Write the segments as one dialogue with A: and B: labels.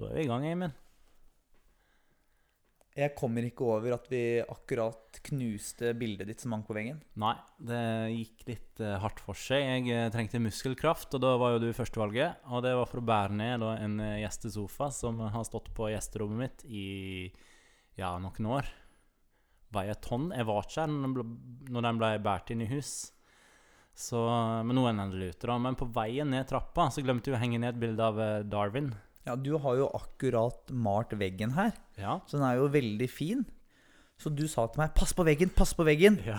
A: Da er vi i gang, Eimin.
B: Jeg kommer ikke over at vi akkurat knuste bildet ditt som hang på veggen.
A: Nei, det gikk litt eh, hardt for seg. Jeg eh, trengte muskelkraft, og da var jo du førstevalget. Og det var for å bære ned da, en eh, gjestesofa som har stått på gjesterommet mitt i ja, noen år. Veier et tonn. Jeg var ikke her når den ble- når den ble båret inn i hus. Så, eh, men nå er den endelig ute, da. Men på veien ned trappa så glemte jeg å henge ned et bilde av eh, Darwin.
B: Ja, du har jo akkurat malt veggen her,
A: Ja.
B: så den er jo veldig fin. Så du sa til meg 'pass på veggen, pass på veggen'.
A: ja.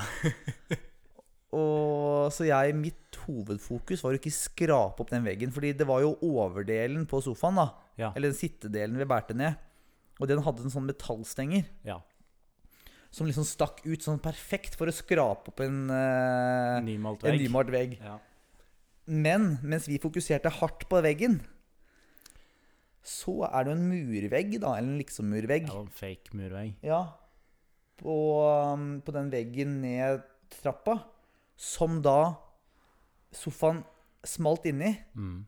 B: Og så jeg, mitt hovedfokus var å ikke skrape opp den veggen, fordi det var jo overdelen på sofaen, da.
A: Ja.
B: Eller den sittedelen vi bærte ned. Og den hadde en sånn metallstenger
A: ja.
B: som liksom stakk ut sånn perfekt for å skrape opp en, eh,
A: Nymalt
B: en
A: vegg.
B: nymalt vegg.
A: Ja.
B: Men mens vi fokuserte hardt på veggen, så er det jo en murvegg, da, eller en liksom-murvegg.
A: Det var en fake murvegg.
B: Ja. På, um, på den veggen ned trappa, som da sofaen smalt inni,
A: Mm.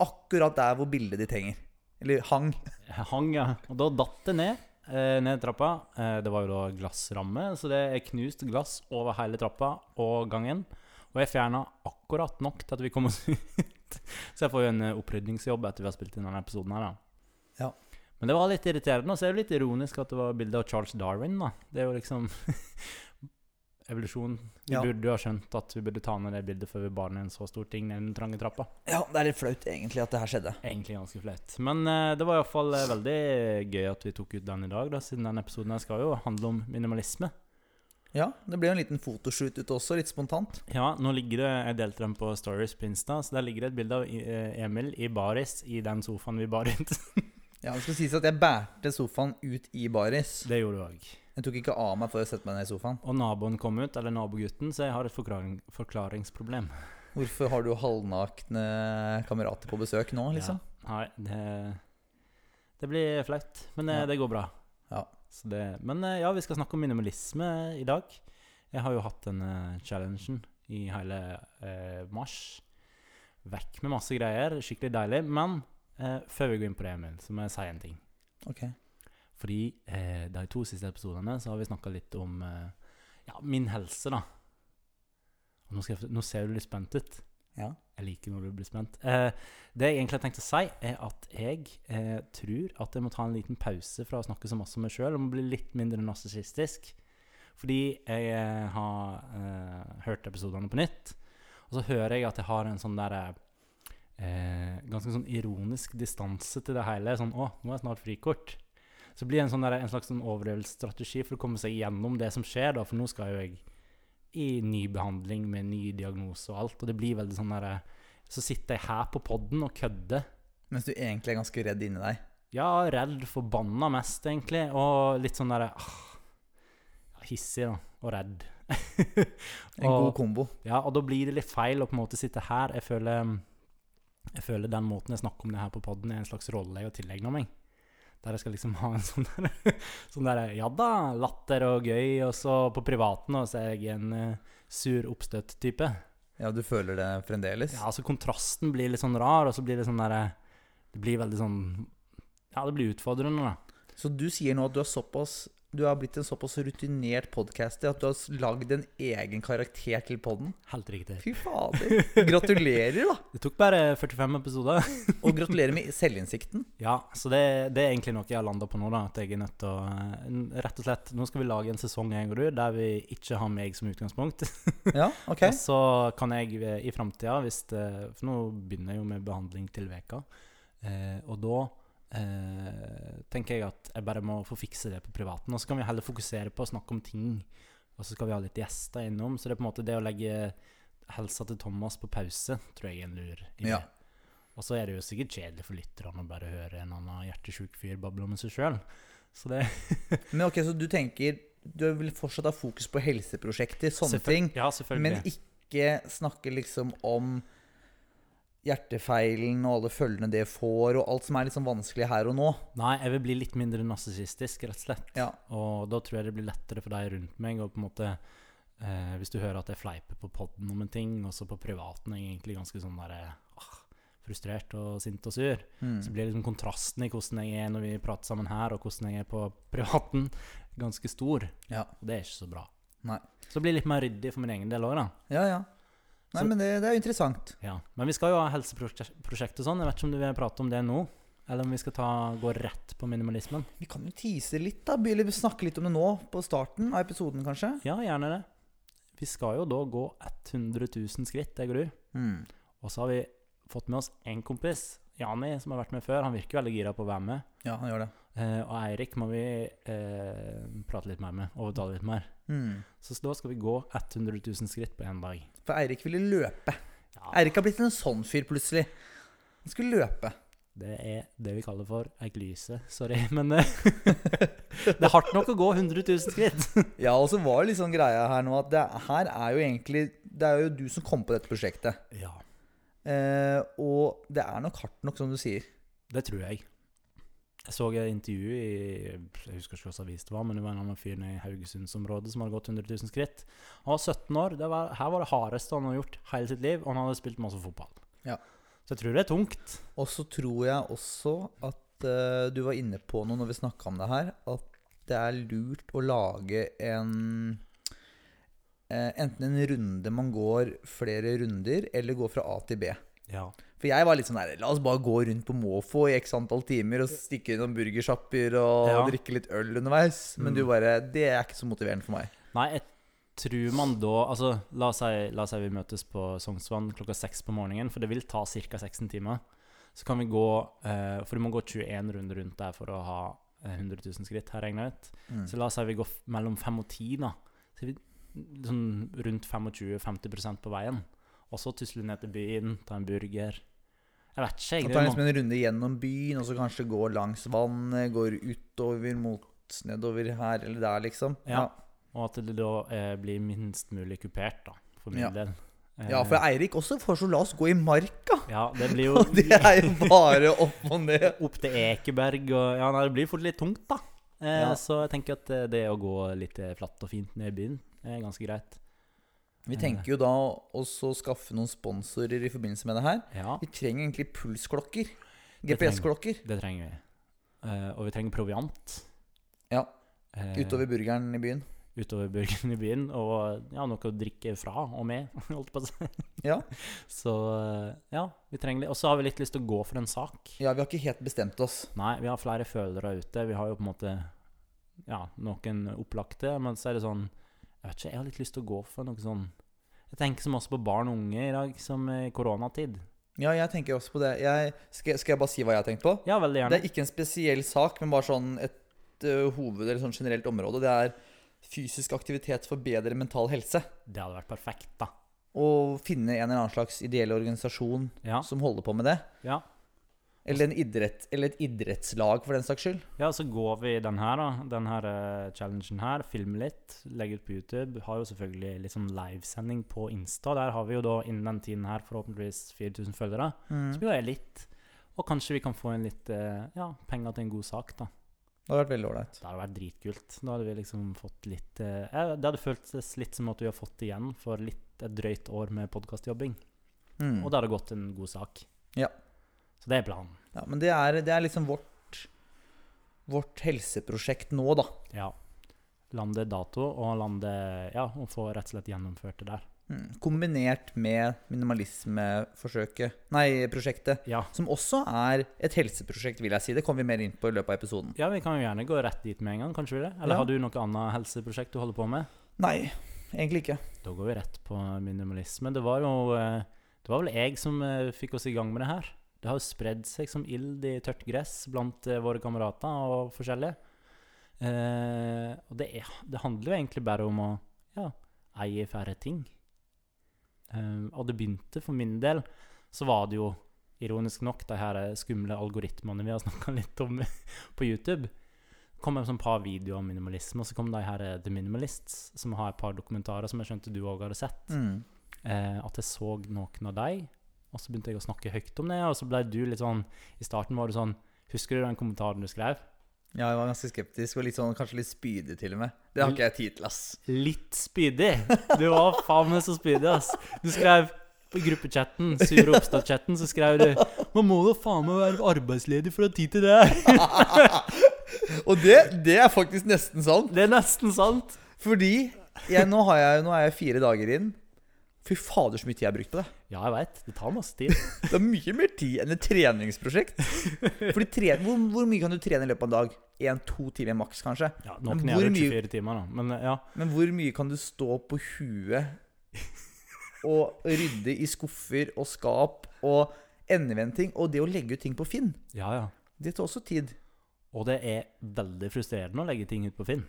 B: akkurat der hvor bildet ditt henger. Eller hang.
A: Jeg hang, ja. Og da datt det ned. eh, Ned trappa. Eh, Det var jo da glassramme, så det er knust glass over hele trappa og gangen. Og jeg fjerna akkurat nok til at vi kom oss ut. Så jeg får jo en eh, opprydningsjobb etter vi har spilt inn denne episoden her, da.
B: Ja.
A: Men det var litt irriterende, og så er det litt ironisk at det var bilde av Charles Darwin, da. Det er jo liksom Evolusjon. Vi
B: Ja.
A: burde jo ha skjønt at vi burde ta ned det bildet før vi bar ned en så stor ting ned den trange trappa.
B: Ja, det er litt flaut egentlig at det her skjedde.
A: Egentlig ganske flaut. Men eh, det var iallfall uh, veldig gøy at vi tok ut den i dag, da, siden den episoden her skal jo handle om minimalisme.
B: Ja, det ble jo en liten fotoshoot ute også, litt spontant.
A: Ja, nå ligger det, Jeg delte den på Stories på Insta, så der ligger det et bilde av eh, Emil i baris i den sofaen vi bar rundt.
B: Ja, Det skal sies at jeg bærte sofaen ut i baris.
A: Det gjorde du òg.
B: Jeg tok ikke av meg for å sette meg ned i sofaen.
A: Og naboen kom ut, eller nabogutten, så jeg har et forklaring, forklaringsproblem.
B: Hvorfor har du halvnakne kamerater på besøk nå, liksom?
A: Ja. Nei, det, det blir flaut, men eh,
B: Ja.
A: det går bra.
B: Ja.
A: Så det, men eh, ja, vi skal snakke om minimalisme i dag. Jeg har jo hatt den eh, challengen i hele eh, mars. Vekk med masse greier, skikkelig deilig. Men eh, før vi går inn på det, Emil, så må jeg si en ting.
B: Ok.
A: Fordi eh, de to siste episodene så har vi snakka litt om eh, ja, min helse, da. Og nå, skal jeg, nå ser du litt spent ut.
B: Ja.
A: Jeg liker når du blir spent. Eh, det jeg egentlig har tenkt å si, er at jeg eh, tror at jeg må ta en liten pause fra å snakke så masse om meg sjøl og må bli litt mindre narsissistisk. Fordi jeg eh, har eh, hørt episodene på nytt, og så hører jeg at jeg har en sånn derre eh, Ganske sånn ironisk distanse til det hele. Sånn 'Å, nå er jeg snart frikort'. Så blir det en, sånn derre- en slags sånn overlevelsesstrategi for å komme seg gjennom det som skjer, da, for nå skal jo jeg i ny behandling med ny diagnose og alt, og det blir veldig sånn derre Så sitter jeg her på podden og kødder.
B: Mens du egentlig er ganske redd inni deg.
A: Ja, redd, forbanna mest, egentlig, og litt sånn derre ah, ja, Hissig, da. Og redd.
B: En
A: Og-
B: god kombo.
A: Ja, og da blir det litt feil å på en måte sitte her. Jeg føler, jeg føler den måten jeg snakker om det her på podden, er en slags rolle jeg har tilegna meg. Der jeg skal liksom ha en sånn der, sånn der ja da, latter og gøy, og så på privaten, og så er jeg en eh, sur oppstøtt type.
B: Ja, du føler det fremdeles?
A: Ja, altså kontrasten blir litt sånn rar, og så blir det sånn derre Det blir veldig sånn Ja, det blir utfordrende, da.
B: Så du sier nå at du er såpass du har blitt en såpass rutinert podcaster at du har s- lagd en egen karakter til podden?
A: Helt riktig.
B: Fy fader. Gratulerer, da.
A: Det tok bare 45 episoder.
B: Og gratulerer med selvinnsikten.
A: Ja, så det, det er egentlig noe jeg har landa på nå, da. At jeg er nødt til å eh, n- Rett og slett, nå skal vi lage en sesong, jeg og du, der vi ikke har meg som utgangspunkt.
B: Ja, ok.
A: Og så kan jeg eh, i framtida, hvis det For nå begynner jeg jo med behandling til veka. Eh, og da eh, tenker jeg at jeg bare må få fikse det på privaten. Og så kan vi heller fokusere på å snakke om ting. Og så skal vi ha litt gjester innom. Så det er på en måte det å legge helsa til Thomas på pause, tror jeg er en lur idé.
B: Ja.
A: Og så er det jo sikkert kjedelig for lytterne å bare høre en annen hjertesjuk fyr bable om seg sjøl. Så det
B: Men ok, Så du tenker du vil fortsatt ha fokus på helseprosjekter, sånne
A: Selvføl-
B: ting,
A: Ja, selvfølgelig.
B: men ikke snakke liksom om hjertefeilen og alle følgene det får, og alt som er litt sånn vanskelig her og nå?
A: Nei, jeg vil bli litt mindre narsissistisk, rett og slett.
B: Ja.
A: Og da tror jeg det blir lettere for deg rundt meg å på en måte eh, Hvis du hører at jeg fleiper på podden om en ting, og så på privaten er jeg egentlig ganske sånn derre ah, frustrert og sint og sur.
B: Mm.
A: Så blir liksom kontrasten i hvordan jeg er når vi prater sammen her, og hvordan jeg er på privaten, ganske stor.
B: Ja.
A: Og det er ikke så bra.
B: Nei.
A: Så det blir litt mer ryddig for min egen del òg, da.
B: Ja, ja. Nei,
A: Så-
B: men det, det er jo interessant.
A: Ja. Men vi skal jo ha helseprosjekt og sånn. Jeg vet ikke om du vil prate om det nå, eller om vi skal ta, gå rett på minimalismen.
B: Vi kan jo tease litt, da. Begynne å snakke litt om det nå, på starten av episoden, kanskje.
A: Ja, gjerne det. Vi skal jo da gå 100 000 skritt, jeg og du.
B: Mm.
A: Og så har vi fått med oss én kompis, Jani, som har vært med før. Han virker veldig gira på å være med.
B: Ja, han gjør det.
A: Eh, og Eirik må vi eh, prate litt mer med, overtale litt mer.
B: Mm.
A: Så da skal vi gå 100 000 skritt på én dag.
B: For Eirik ville løpe.
A: Ja,
B: Eirik har blitt en sånn fyr, plutselig. Han skulle løpe.
A: det er det vi kaller for ei glyse. Sorry, men eh, det er hardt nok å gå 100 000 skritt.
B: Ja, og så var det litt sånn greia her nå at det her er jo egentlig Det er jo du som kom på dette prosjektet.
A: Ja,
B: Eh, og det er nok hardt nok, som du sier.
A: det tror jeg. Jeg så et intervju i jeg husker ikke hvilken avis det var, men det var en annen fyr nede i Haugesundsområdet som hadde gått 100 000 skritt. Han var 17 år. Det var, her var det hardeste han hadde gjort hele sitt liv, og han hadde spilt masse fotball.
B: Ja.
A: Så jeg tror det er tungt.
B: Og så tror jeg også at eh, du var inne på noe når vi snakka om det her, at det er lurt å lage en eh, Enten en runde man går flere runder, eller gå fra A til B.
A: Ja.
B: For jeg var litt sånn der La oss bare gå rundt på måfå i x antall timer og stikke innom burgersjapper og
A: Ja.
B: drikke litt øl underveis. Men du
A: Mm.
B: bare Det er ikke så motiverende for meg.
A: Nei, jeg tror man da Altså, la oss si, la oss si vi møtes på Sognsvann klokka seks på morgenen, for det vil ta ca. 16 timer. Så kan vi gå eh, For du må gå 21 runder rundt der for å ha eh, 100 000 skritt, har jeg regna ut.
B: Mm.
A: Så la oss si vi går f- mellom fem og ti, da. Så vi sånn rundt 25-50 på veien. Og så tusle ned til byen, ta en burger. Jeg vet ikke, jeg.
B: Man
A: Det
B: tar
A: er
B: liksom
A: mange-
B: en runde gjennom byen, og så kanskje går langs vannet, går utover mot nedover her eller der, liksom.
A: Ja. Og at det da eh, blir minst mulig kupert, da. For min
B: Ja.
A: del. Eh,
B: Ja. ja, for Eirik også foreslo la oss gå i marka!
A: Ja, det blir
B: Og det
A: jo
B: er jo bare opp og ned.
A: opp til Ekeberg og Ja, nei, det blir fort litt tungt, da. Eh,
B: Ja.
A: Så jeg tenker at eh, det å gå litt eh, flatt og fint ned i byen er ganske greit.
B: Vi tenker jo da også å skaffe noen sponsorer i forbindelse med det her.
A: Ja,
B: Vi trenger egentlig pulsklokker.
A: Det trenger-
B: GPS-klokker
A: det trenger vi. Eh, og vi trenger proviant.
B: Ja.
A: Eh,
B: utover burgeren i byen.
A: utover burgeren i byen, og ja, noe å drikke fra og med, holdt på å si.
B: Ja.
A: Så eh, ja, vi trenger litt. Og så har vi litt lyst til å gå for en sak.
B: Ja, vi har ikke helt bestemt oss.
A: Nei, vi har flere følere ute. Vi har jo på en måte ja, noen opplagte, men så er det sånn Jeg vet ikke, jeg har litt lyst til å gå for noe sånn Jeg tenker så masse på barn og unge i dag som i koronatid.
B: Ja, jeg tenker også på det. Jeg, skal, skal jeg bare si hva jeg har tenkt på?
A: Ja, veldig
B: Det
A: gjerne.
B: er ikke en spesiell sak, men bare sånn et ø, hoved- eller sånn generelt område. Det er fysisk aktivitet for bedre mental helse.
A: Det hadde vært perfekt, da.
B: Å finne en eller annen slags ideell organisasjon
A: Ja.
B: som holder på med det.
A: ja.
B: Eller, en idrett, eller et idrettslag, for den saks skyld.
A: Ja, så går vi i den her, da. Den her eh, challengen her. Filme litt, legge ut på YouTube. Har jo selvfølgelig litt sånn livesending på Insta. Der har vi jo da innen den tiden her forhåpentligvis 4000 følgere.
B: Mm.
A: Så blir det litt. Og kanskje vi kan få en litt eh, ja, penger til en god sak, da.
B: Det hadde vært veldig ålreit.
A: Det hadde vært dritkult. Da hadde vi liksom fått litt eh, ja, Det hadde føltes litt som at vi har fått igjen for litt et drøyt år med podkastjobbing.
B: Mm.
A: Og det hadde gått en god sak.
B: Ja.
A: Så det er planen.
B: Ja, men det er, det er liksom vårt, vårt helseprosjekt nå, da.
A: Ja. Lande dato, og lande Ja, og få rett og slett gjennomført det der.
B: Mm. Kombinert med minimalismeforsøket, nei, prosjektet.
A: Ja.
B: Som også er et helseprosjekt, vil jeg si. Det kommer vi mer inn på i løpet av episoden.
A: Ja, vi kan jo gjerne gå rett dit med en gang, kanskje vi det? Eller
B: Ja.
A: har du noe annet helseprosjekt du holder på med?
B: Nei, egentlig ikke.
A: Da går vi rett på minimalisme. Det var jo eh, Det var vel jeg som eh, fikk oss i gang med det her. Det har jo spredd seg som ild i tørt gress blant eh, våre kamerater og forskjellige. Eh, og det, er, det handler jo egentlig bare om å ja, eie færre ting. Eh, og det begynte for min del, så var det jo ironisk nok de her eh, skumle algoritmene vi har snakka litt om på YouTube. Det kom et sånn par videoer om minimalisme, og så kom de her eh, The Minimalists, som har et par dokumentarer som jeg skjønte du òg hadde sett.
B: Mm.
A: Eh, at jeg så noen av de, og så begynte jeg å snakke høyt om det, og så ble du litt sånn I starten var du sånn Husker du den kommentaren du skrev?
B: Ja, jeg var ganske skeptisk, og litt sånn, kanskje litt spydig til og med. Det har ikke jeg tid til, ass.
A: Litt spydig! Du var faen meg så spydig, ass. Du skrev På gruppechatten, sure oppstått-chatten, så skrev du Man må da faen meg være arbeidsledig for å ha tid til det her.
B: Og det, det er faktisk nesten sant.
A: Det er nesten sant.
B: Fordi jeg, nå, har jeg, nå er jeg fire dager inn. Fy fader, så mye tid jeg har brukt på det.
A: Ja, jeg veit. Det tar masse tid.
B: Det er mye mer tid enn et treningsprosjekt. Fordi tre, hvor, hvor mye kan du trene i løpet av en dag? Én-to timer maks, kanskje.
A: Ja,
B: Men
A: Noen
B: hvor
A: gjør det
B: mye-
A: 24 timer, da. Men ja.
B: Men hvor mye kan du stå på huet og rydde i skuffer og skap og endevende ting? Og det å legge ut ting på Finn,
A: ja, ja.
B: det tar også tid.
A: Og det er veldig frustrerende å legge ting ut på Finn.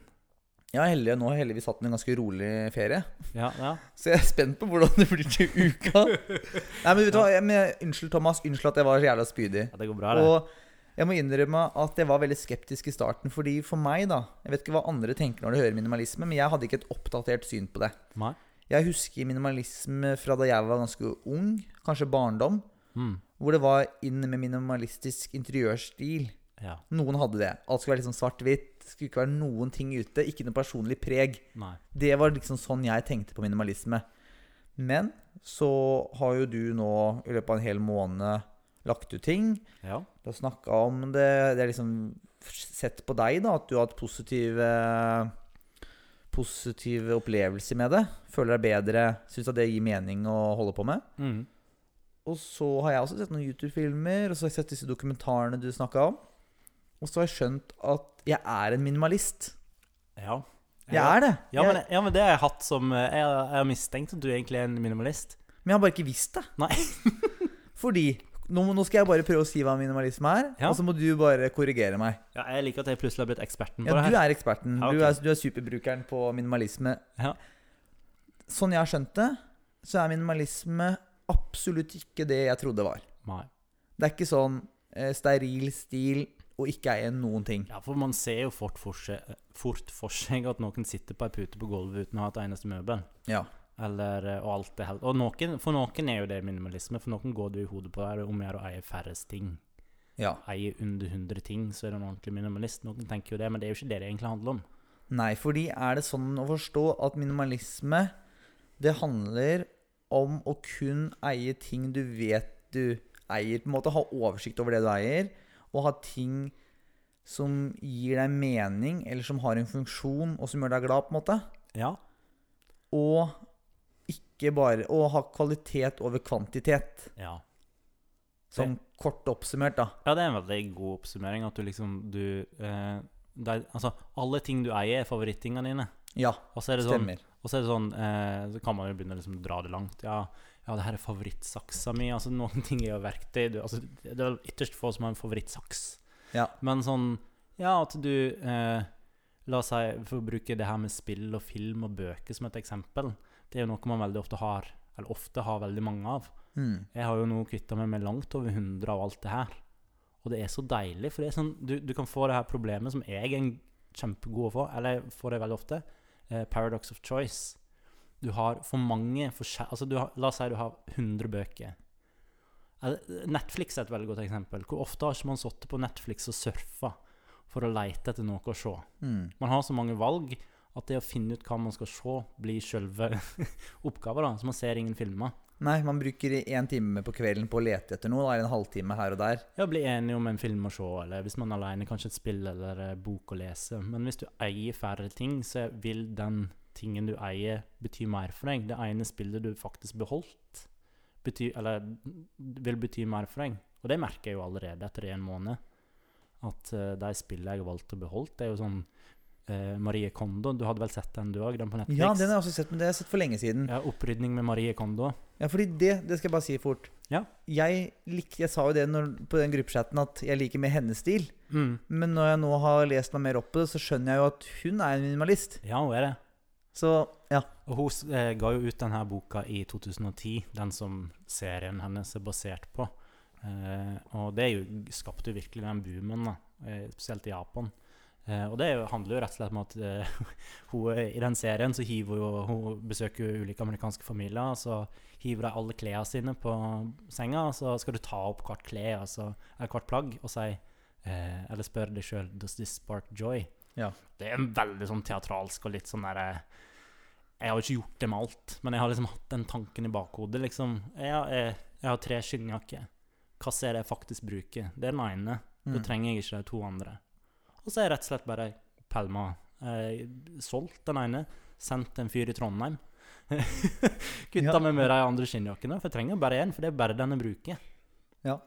B: Jeg har heldig, nå har jeg heldigvis hatt en ganske rolig ferie,
A: Ja, ja.
B: så jeg er spent på hvordan det blir til uka. Nei, men vet du hva? Jeg, men, unnskyld, Thomas. Unnskyld at jeg var så jævla spydig.
A: ja det går bra, det.
B: Og jeg må innrømme at jeg var veldig skeptisk i starten, fordi for meg, da Jeg vet ikke hva andre tenker når de hører minimalisme, men jeg hadde ikke et oppdatert syn på det.
A: Nei.
B: Jeg husker minimalisme fra da jeg var ganske ung, kanskje barndom,
A: Mm.
B: hvor det var inn med minimalistisk interiørstil.
A: Ja.
B: Noen hadde det. Alt skulle være litt sånn svart-hvitt. Skulle ikke være noen ting ute. Ikke noe personlig preg.
A: Nei.
B: Det var liksom sånn jeg tenkte på minimalisme. Men så har jo du nå i løpet av en hel måned lagt ut ting.
A: Ja.
B: Du har snakka om det. Det er liksom sett på deg, da, at du har hatt positive Positive opplevelser med det. Føler deg bedre. Syns at det gir mening å holde på med.
A: Mm.
B: Og så har jeg også sett noen YouTube-filmer, og så har jeg sett disse dokumentarene du snakka om. Og så har jeg skjønt at jeg er en minimalist.
A: ja.
B: Jeg er det.
A: Ja men,
B: jeg,
A: ja, men det har jeg hatt som eh, Jeg jeg har mistenkt at du egentlig er en minimalist.
B: men jeg har bare ikke visst det.
A: Nei.
B: Fordi nå, nå skal jeg bare prøve å si hva minimalisme er,
A: Ja.
B: og så må du bare korrigere meg.
A: Ja, jeg liker at jeg plutselig har blitt eksperten på
B: Ja,
A: det
B: du
A: Mm, her.
B: er eksperten.
A: Ja, ok.
B: Du, er, du er superbrukeren på minimalisme.
A: Ja.
B: Sånn jeg har skjønt det, så er minimalisme absolutt ikke det jeg trodde det var.
A: Nei.
B: Det er ikke sånn eh, steril stil og ikke eie noen ting.
A: Ja, for man ser jo fort for, seg, fort for seg at noen sitter på ei pute på gulvet uten å ha et eneste møbel.
B: Ja.
A: Eller, eh, og alt det hel- Og noen, for noen er jo det minimalisme. For noen går det i hodet på det her om å gjøre å eie færrest ting.
B: ja.
A: Eie under 100 ting, så er det en ordentlig minimalist. Noen tenker jo det, men det er jo ikke det det egentlig handler om.
B: Nei, fordi er det sånn å forstå at minimalisme, det handler om å kun eie ting du vet du eier. På en måte ha oversikt over det du eier, og ha ting som gir deg mening, eller som har en funksjon, og som gjør deg glad, på en måte.
A: Ja.
B: Og ikke bare å ha kvalitet over kvantitet.
A: Ja.
B: Sånn kort oppsummert, da.
A: Ja, det er en veldig god oppsummering at du liksom du eh, det er, Altså, alle ting du eier, er favorittingene dine.
B: Ja,
A: Og så er det sånn,
B: stemmer.
A: og så, er det sånn eh, så kan man jo begynne liksom å dra det langt. Ja, ja, det her er favorittsaksa mi. Altså, noen ting er jo verktøy. Du, altså, det er vel ytterst få som har en favorittsaks.
B: Ja.
A: Men sånn Ja, at du eh, La oss si, for å bruke det her med spill og film og bøker som et eksempel, det er jo noe man veldig ofte har, eller ofte har veldig mange av.
B: Mm.
A: Jeg har jo nå kvitta meg med langt over 100 av alt det her. Og det er så deilig, for det er sånn, du, du kan få det her problemet som jeg er kjempegod å få, eller jeg får det veldig ofte, eh, paradox of choice. Du har for mange forskjell... Altså, du har, la oss si du har 100 bøker. Eller, Netflix er et veldig godt eksempel. Hvor ofte har ikke man sittet på Netflix og surfa for å leite etter noe å se?
B: Mm.
A: Man har så mange valg at det å finne ut hva man skal se, blir sjølve oppgava, da. Så man ser ingen filmer.
B: Nei, man bruker én time på kvelden på å lete etter noe, da, eller en halvtime her og der.
A: Ja, bli enige om en film å se, eller hvis man er alene, kanskje et spill eller eh, bok å lese. Men hvis du eier færre ting, så vil den tingen du eier, bety mer for deg. Det ene spillet du faktisk beholdt, bety, eller, vil bety mer for deg. Og det merker jeg jo allerede etter en måned. At eh, de spillene jeg valgte å beholde, det er jo sånn eh, Marie Kondo. Du hadde vel sett den du òg, den på Netflix?
B: Ja, den har jeg også sett, men det har jeg sett for lenge siden.
A: Ja, Opprydning med Marie Kondo.
B: Ja, fordi det, det skal jeg bare si fort.
A: Ja.
B: Jeg, lik, jeg sa jo det når, på den gruppechatten at jeg liker mer hennes stil,
A: Mm.
B: men når jeg nå har lest meg mer opp på det, så skjønner jeg jo at hun er en minimalist.
A: Ja, hun er det.
B: Så ja.
A: Og hun s- eh, ga jo ut denne boka i 2010, den som serien hennes er basert på. Eh, og det er jo, skapte jo virkelig den boomen, da, eh, spesielt i Japan. Eh, og det er jo, handler jo rett og slett om at eh, hun, er- i den serien så hiver hun jo Hun besøker jo ulike amerikanske familier, og så hiver de alle klærne sine på senga, og så skal du ta opp hvert kle, altså, eller hvert plagg, og si eh, Eller spørre deg sjøl Does this spark joy?
B: Ja.
A: Det er en veldig sånn teatralsk og litt sånn derre Jeg har jo ikke gjort det med alt, men jeg har liksom hatt den tanken i bakhodet. liksom. Jeg, har- jeg, jeg har tre skinnjakker. Hva er det jeg faktisk bruker? Det er den ene. Da
B: Mm.
A: trenger jeg ikke de to andre. Og så har jeg rett og slett bare pælma. Eh, solgt den ene, sendt en fyr i Trondheim. Kutta
B: Ja.
A: meg med de andre skinnjakkene, for jeg trenger bare én, for det er bare den jeg bruker.
B: Ja.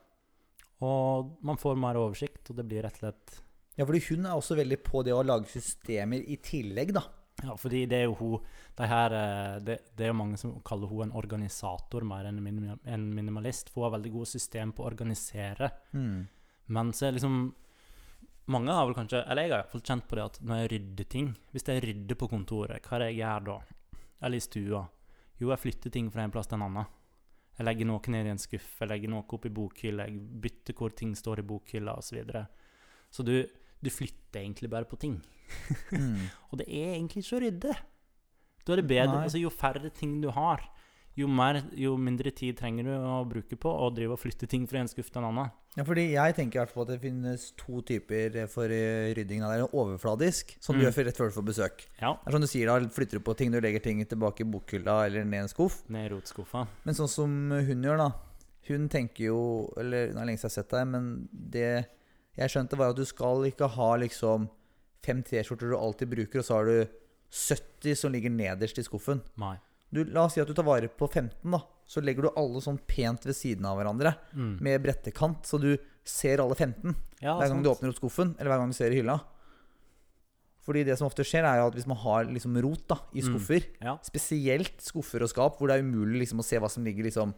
A: Og man får mer oversikt, og det blir rett og slett
B: Ja, fordi hun er også veldig på det å lage systemer i tillegg, da.
A: Ja, fordi det er jo hun de her, eh, det, det er jo mange som kaller hun en organisator mer enn en minim- en minimalist, for hun har veldig gode system på å organisere.
B: Mm.
A: Men så er liksom Mange har vel kanskje Eller jeg har i hvert fall kjent på det at når jeg rydder ting Hvis jeg rydder på kontoret, hva er det jeg gjør da? Eller i stua? Jo, jeg flytter ting fra en plass til en annen. Jeg legger noe ned i en skuff, jeg legger noe opp i bokhylla, jeg bytter hvor ting står i bokhylla, osv. Så, videre. så du, du flytter egentlig bare på ting.
B: Mm.
A: Og det er egentlig ikke å rydde. Da er det bedre,
B: Nei.
A: altså Jo færre ting du har, jo, mer, jo mindre tid trenger du å bruke på å drive og flytte ting fra en skuff til en annen.
B: Ja, fordi jeg tenker i hvert fall at det finnes to typer for eh, rydding. av Det Det er overfladisk, som du
A: Mm.
B: gjør for- rett før du får besøk.
A: Ja,
B: Det er som du sier, da flytter du på ting, du legger ting tilbake i bokhylla eller ned i en skuff.
A: ned i rotskuffa.
B: Men sånn som hun gjør, da. Hun tenker jo Eller hun har lenge siden jeg har sett deg, men det jeg skjønte, var at du skal ikke ha liksom fem T-skjorter du alltid bruker, og så har du 70 som ligger nederst i skuffen.
A: Mai.
B: Du, la oss si at du tar vare på 15, da. Så legger du alle sånn pent ved siden av hverandre
A: Mm.
B: med brettekant, så du ser alle 15
A: Ja,
B: hver gang
A: Ah, sant.
B: du åpner opp skuffen, eller hver gang du ser i hylla. Fordi det som ofte skjer, er jo at hvis man har liksom rot da, i
A: Mm.
B: skuffer,
A: Ja.
B: spesielt skuffer og skap, hvor det er umulig liksom å se hva som ligger liksom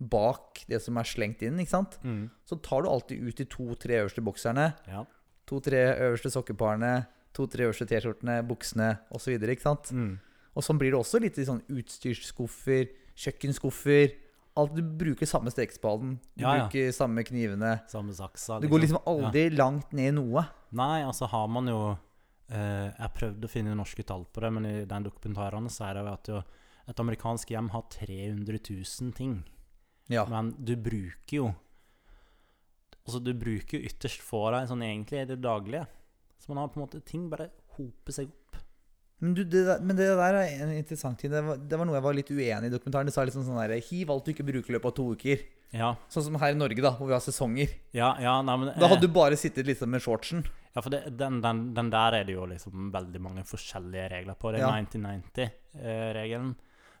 B: bak det som er slengt inn, ikke sant?
A: Mm.
B: så tar du alltid ut de to-tre øverste bokserne,
A: Ja.
B: to-tre øverste sokkeparene, to-tre øverste T-skjortene, buksene osv. Og
A: Mm.
B: sånn blir det også litt i sånn utstyrsskuffer, kjøkkenskuffer Alt Du bruker samme stekespaden, du
A: Ja, ja.
B: bruker samme knivene.
A: Samme saksa.
B: Du går liksom aldri langt ned i noe.
A: Nei, altså har man jo eh, Jeg prøvde å finne norske tall på det, men i den dokumentaren så er det jo at jo, et amerikansk hjem har 300 000 ting.
B: Ja.
A: Men du bruker jo Altså, du bruker jo ytterst få av deg sånn egentlig i det daglige. Så man har på en måte Ting bare hoper seg opp.
B: Men, du, det der, men det der er en interessant ting. Det var, det var noe jeg var litt uenig i i dokumentaren. Det sa liksom sånn der, Hiv alt du ikke bruker i løpet av to uker.
A: Ja,
B: Sånn som her i Norge, da, hvor vi har sesonger.
A: ja, ja nei, men
B: Da
A: eh,
B: hadde du bare sittet liksom med shortsen.
A: Ja, for det, den, den, den der er det jo liksom veldig mange forskjellige regler på. Det er
B: Ja.
A: 90-90-regelen.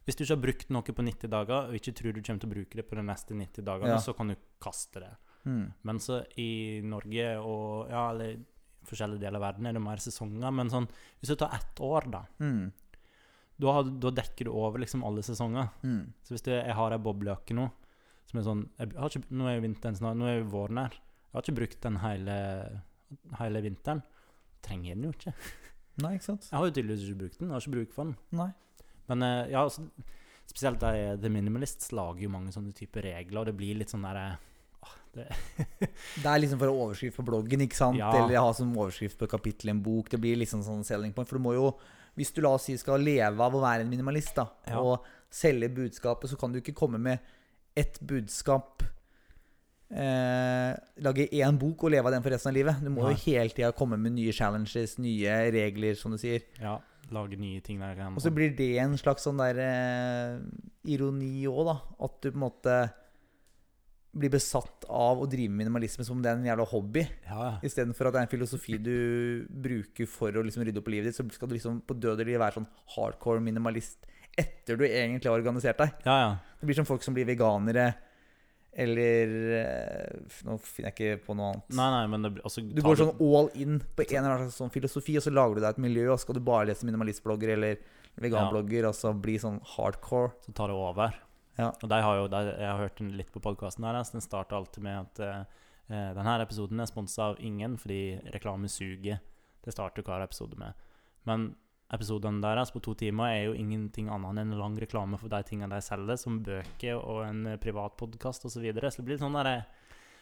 A: Hvis du ikke har brukt noe på 90 dager, og ikke tror du kommer til å bruke det på de neste 90 dagene,
B: Ja.
A: så kan du kaste det.
B: Hmm,
A: Men så i Norge og ja, eller i forskjellige deler av verden er det mer sesonger. Men sånn, hvis du tar ett år, da,
B: Mm.
A: da, har, da dekker du over liksom alle sesonger.
B: Mm.
A: Så hvis du, jeg har ei boblejakke nå som er sånn jeg har ikke, Nå er jo vinteren snart, nå er jo våren her. Jeg har ikke brukt den hele, hele vinteren. Trenger jeg den jo ikke.
B: Nei, ikke sant?
A: Jeg har jo tydeligvis ikke brukt den. Jeg har ikke bruk for den.
B: Nei.
A: Men eh, ja, altså, spesielt de The Minimalists lager jo mange sånne typer regler, og det blir litt sånn derre
B: Det er liksom for å ha overskrift på bloggen, ikke sant?
A: Ja.
B: Eller ha som overskrift på et kapittel i en bok. Det blir liksom sånn selling point. For du må jo, hvis du la oss si skal leve av å være en minimalist, da,
A: Ja.
B: og selge budskapet, så kan du ikke komme med ett budskap eh, Lage én bok og leve av den for resten av livet. Du må
A: Nei.
B: jo hele tida komme med nye challenges, nye regler, som du sier.
A: Ja, lage nye ting der igjen.
B: Og så blir det en slags sånn der eh, ironi òg, da. At du på en måte blir besatt av å drive med minimalisme som om det er en jævla hobby.
A: ja, ja.
B: Istedenfor at det er en filosofi du bruker for å liksom rydde opp i livet ditt, så skal du liksom på død og liv være sånn hardcore minimalist etter du egentlig har organisert deg.
A: ja, ja.
B: Det blir som folk som blir veganere eller eh, Nå finner jeg ikke på noe annet.
A: Nei, nei, men det blir altså,
B: Du
A: tar
B: går sånn all in på en eller annen slags sånn filosofi, og så lager du deg et miljø, og så skal du bare lese minimalistblogger eller veganblogger, og så bli sånn hardcore.
A: så tar det over.
B: Ja.
A: Og de har jo, de, jeg har hørt den litt på podkasten deres. Den starter alltid med at eh, denne episoden er sponsa av ingen fordi reklame suger. Det starter hver episode med. Men episoden deres på to timer er jo ingenting annet enn en lang reklame for de tingene de selger, som bøker og en eh, privat podkast osv. Så, videre. så det blir sånn der,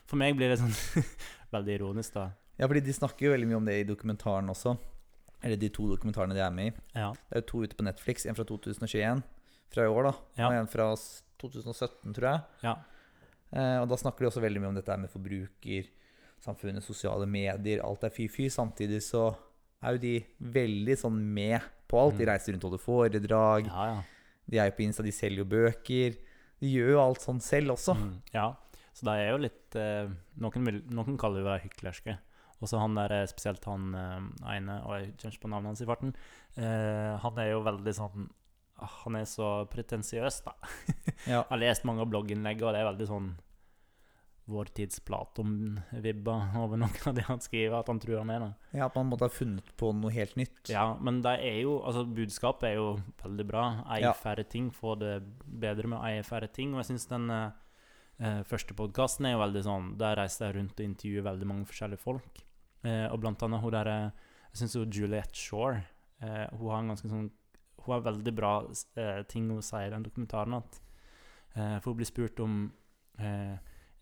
A: For meg blir det sånn veldig ironisk, da.
B: Ja, fordi de snakker jo veldig mye om det i dokumentaren også. Eller de to dokumentarene de er med i.
A: Ja.
B: Det er jo to ute på Netflix. En fra 2021, fra i år, da.
A: Ja.
B: Og en fra s- 2017, tror jeg.
A: ja.
B: Eh, og da snakker de også veldig mye om dette her med forbruker, samfunnet, sosiale medier, alt er fy-fy. Samtidig så er jo de veldig sånn med på alt. De
A: Mm.
B: reiser rundt og holder foredrag.
A: Ja, ja.
B: De er jo på Insta, de selger jo bøker. De gjør jo alt sånn selv også.
A: Mm, ja. Så det er jo litt eh, Noen, vil, noen kaller jo det hyklerske. Og så han der, eh, spesielt han eh, ene, og jeg kjenner ikke på navnet hans i farten, eh, han er jo veldig sånn ah, Han er så pretensiøs, da.
B: Ja.
A: Jeg har lest mange av blogginnleggene, og det er veldig sånn vår tids Platon-vibba over noe av det han skriver, at han tror han er det.
B: ja, At man måtte ha funnet på noe helt nytt.
A: Ja, men det er jo, altså budskapet er jo veldig bra. Ei
B: Ja.
A: færre ting, få det bedre med ei færre ting. Og jeg syns den eh, eh, første podkasten er jo veldig sånn Der reiste jeg rundt og intervjuet veldig mange forskjellige folk. Eh, og blant annet hun derre Jeg syns jo Juliette Shore eh, Hun har en ganske sånn Hun har veldig bra eh, ting hun sier i den dokumentaren. At, eh, for hun blir spurt om eh,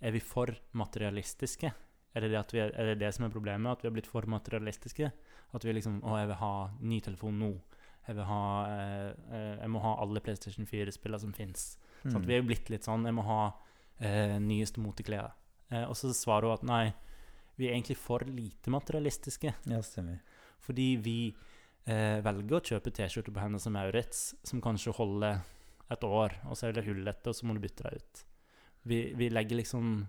A: Er vi for materialistiske? Er det det, at vi er, er det det som er problemet? At vi har blitt for materialistiske? At vi liksom Å, jeg vil ha ny telefon nå. Jeg vil ha eh, eh, Jeg må ha alle PlayStation 4-spillene som fins.
B: Mm.
A: Sånn at vi er jo blitt litt sånn Jeg må ha eh, nyeste moteklær. Eh, og så svarer hun at nei, vi er egentlig for lite materialistiske.
B: Ja, stemmer.
A: Fordi vi eh, velger å kjøpe T-skjorte på Hennes og Maurits som kanskje holder et år, og så er det hullete, og så må du bytte deg ut. Vi, vi legger liksom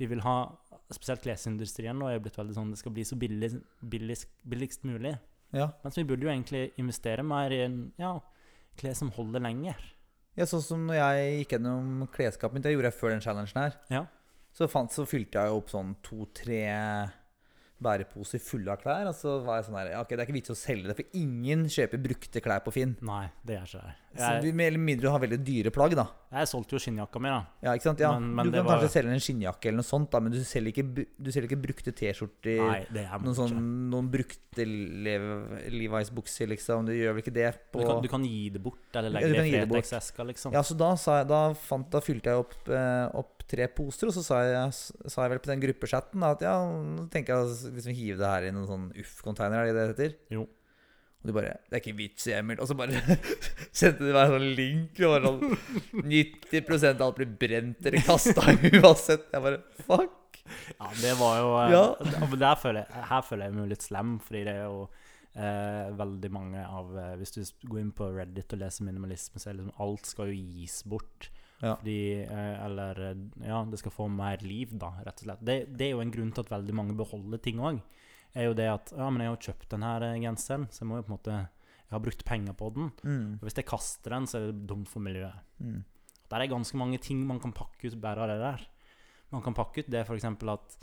A: Vi vil ha Spesielt klesindustrien nå er jo blitt veldig sånn det skal bli så billig, billig, billigst mulig.
B: Ja.
A: Mens vi burde jo egentlig investere mer i en, ja, klær som holder lenger.
B: ja, sånn som når jeg gikk gjennom klesskapet mitt, det gjorde jeg før den challengen her,
A: Ja.
B: så, fant, så fylte jeg jo opp sånn to-tre bæreposer fulle av klær. Og så var jeg sånn her ja, Ok, det er ikke vits å selge det, for ingen kjøper brukte klær på Finn.
A: Nei, det gjør ikke det.
B: Så
A: Jeg-
B: du mer eller mindre har veldig dyre plagg, da.
A: Jeg solgte jo skinnjakka mi, da.
B: Ja, ikke sant? Ja.
A: Men- men
B: du
A: det
B: kan
A: var-
B: kanskje selge en skinnjakke eller noe sånt, da, men du selger ikke, bu- du selger ikke brukte T-skjorter.
A: det er
B: Eh, Noen, sånn, noen brukte Lev- Levi's-bukser, liksom. Du gjør vel ikke det
A: du,
B: på
A: kan, du kan gi det bort, eller
B: Ja,
A: legge
B: du
A: det
B: kan
A: i
B: gi det bort.
A: Fretex-eska, liksom.
B: Ja, så da, sa jeg, da, fant, da fylte jeg opp, eh, opp tre poser, og så sa jeg, sa jeg vel på den gruppechatten da, at ja, nå tenker jeg å s- liksom hive det her i noen sånn UFF-container, er det det det heter?
A: Jo.
B: Og de bare 'Det er ikke vits i, Emil.' Og så bare sendte de meg en sånn link. Og bare sånn 90 av alt blir brent eller kasta uansett. Jeg bare Fuck.
A: Ja, det var jo eh,
B: Ja.
A: ja, men der føler jeg, Her føler jeg meg jo litt slem, fordi det er jo eh, veldig mange av eh, Hvis du s- går inn på Reddit og leser minimalisme, så er det liksom alt skal jo gis bort.
B: Ja.
A: Fordi, eh, eller eh, Ja, det skal få mer liv, da, rett og slett. Det, det er jo en grunn til at veldig mange beholder ting òg. Er jo det at Ja, men jeg har jo kjøpt den her eh, genseren, så jeg må jo på en måte Jeg har brukt penger på den.
B: Mm,
A: Og hvis jeg kaster den, så er det dumt for miljøet.
B: mm.
A: Der er ganske mange ting man kan pakke ut bare av det der. Man kan pakke ut det f.eks. at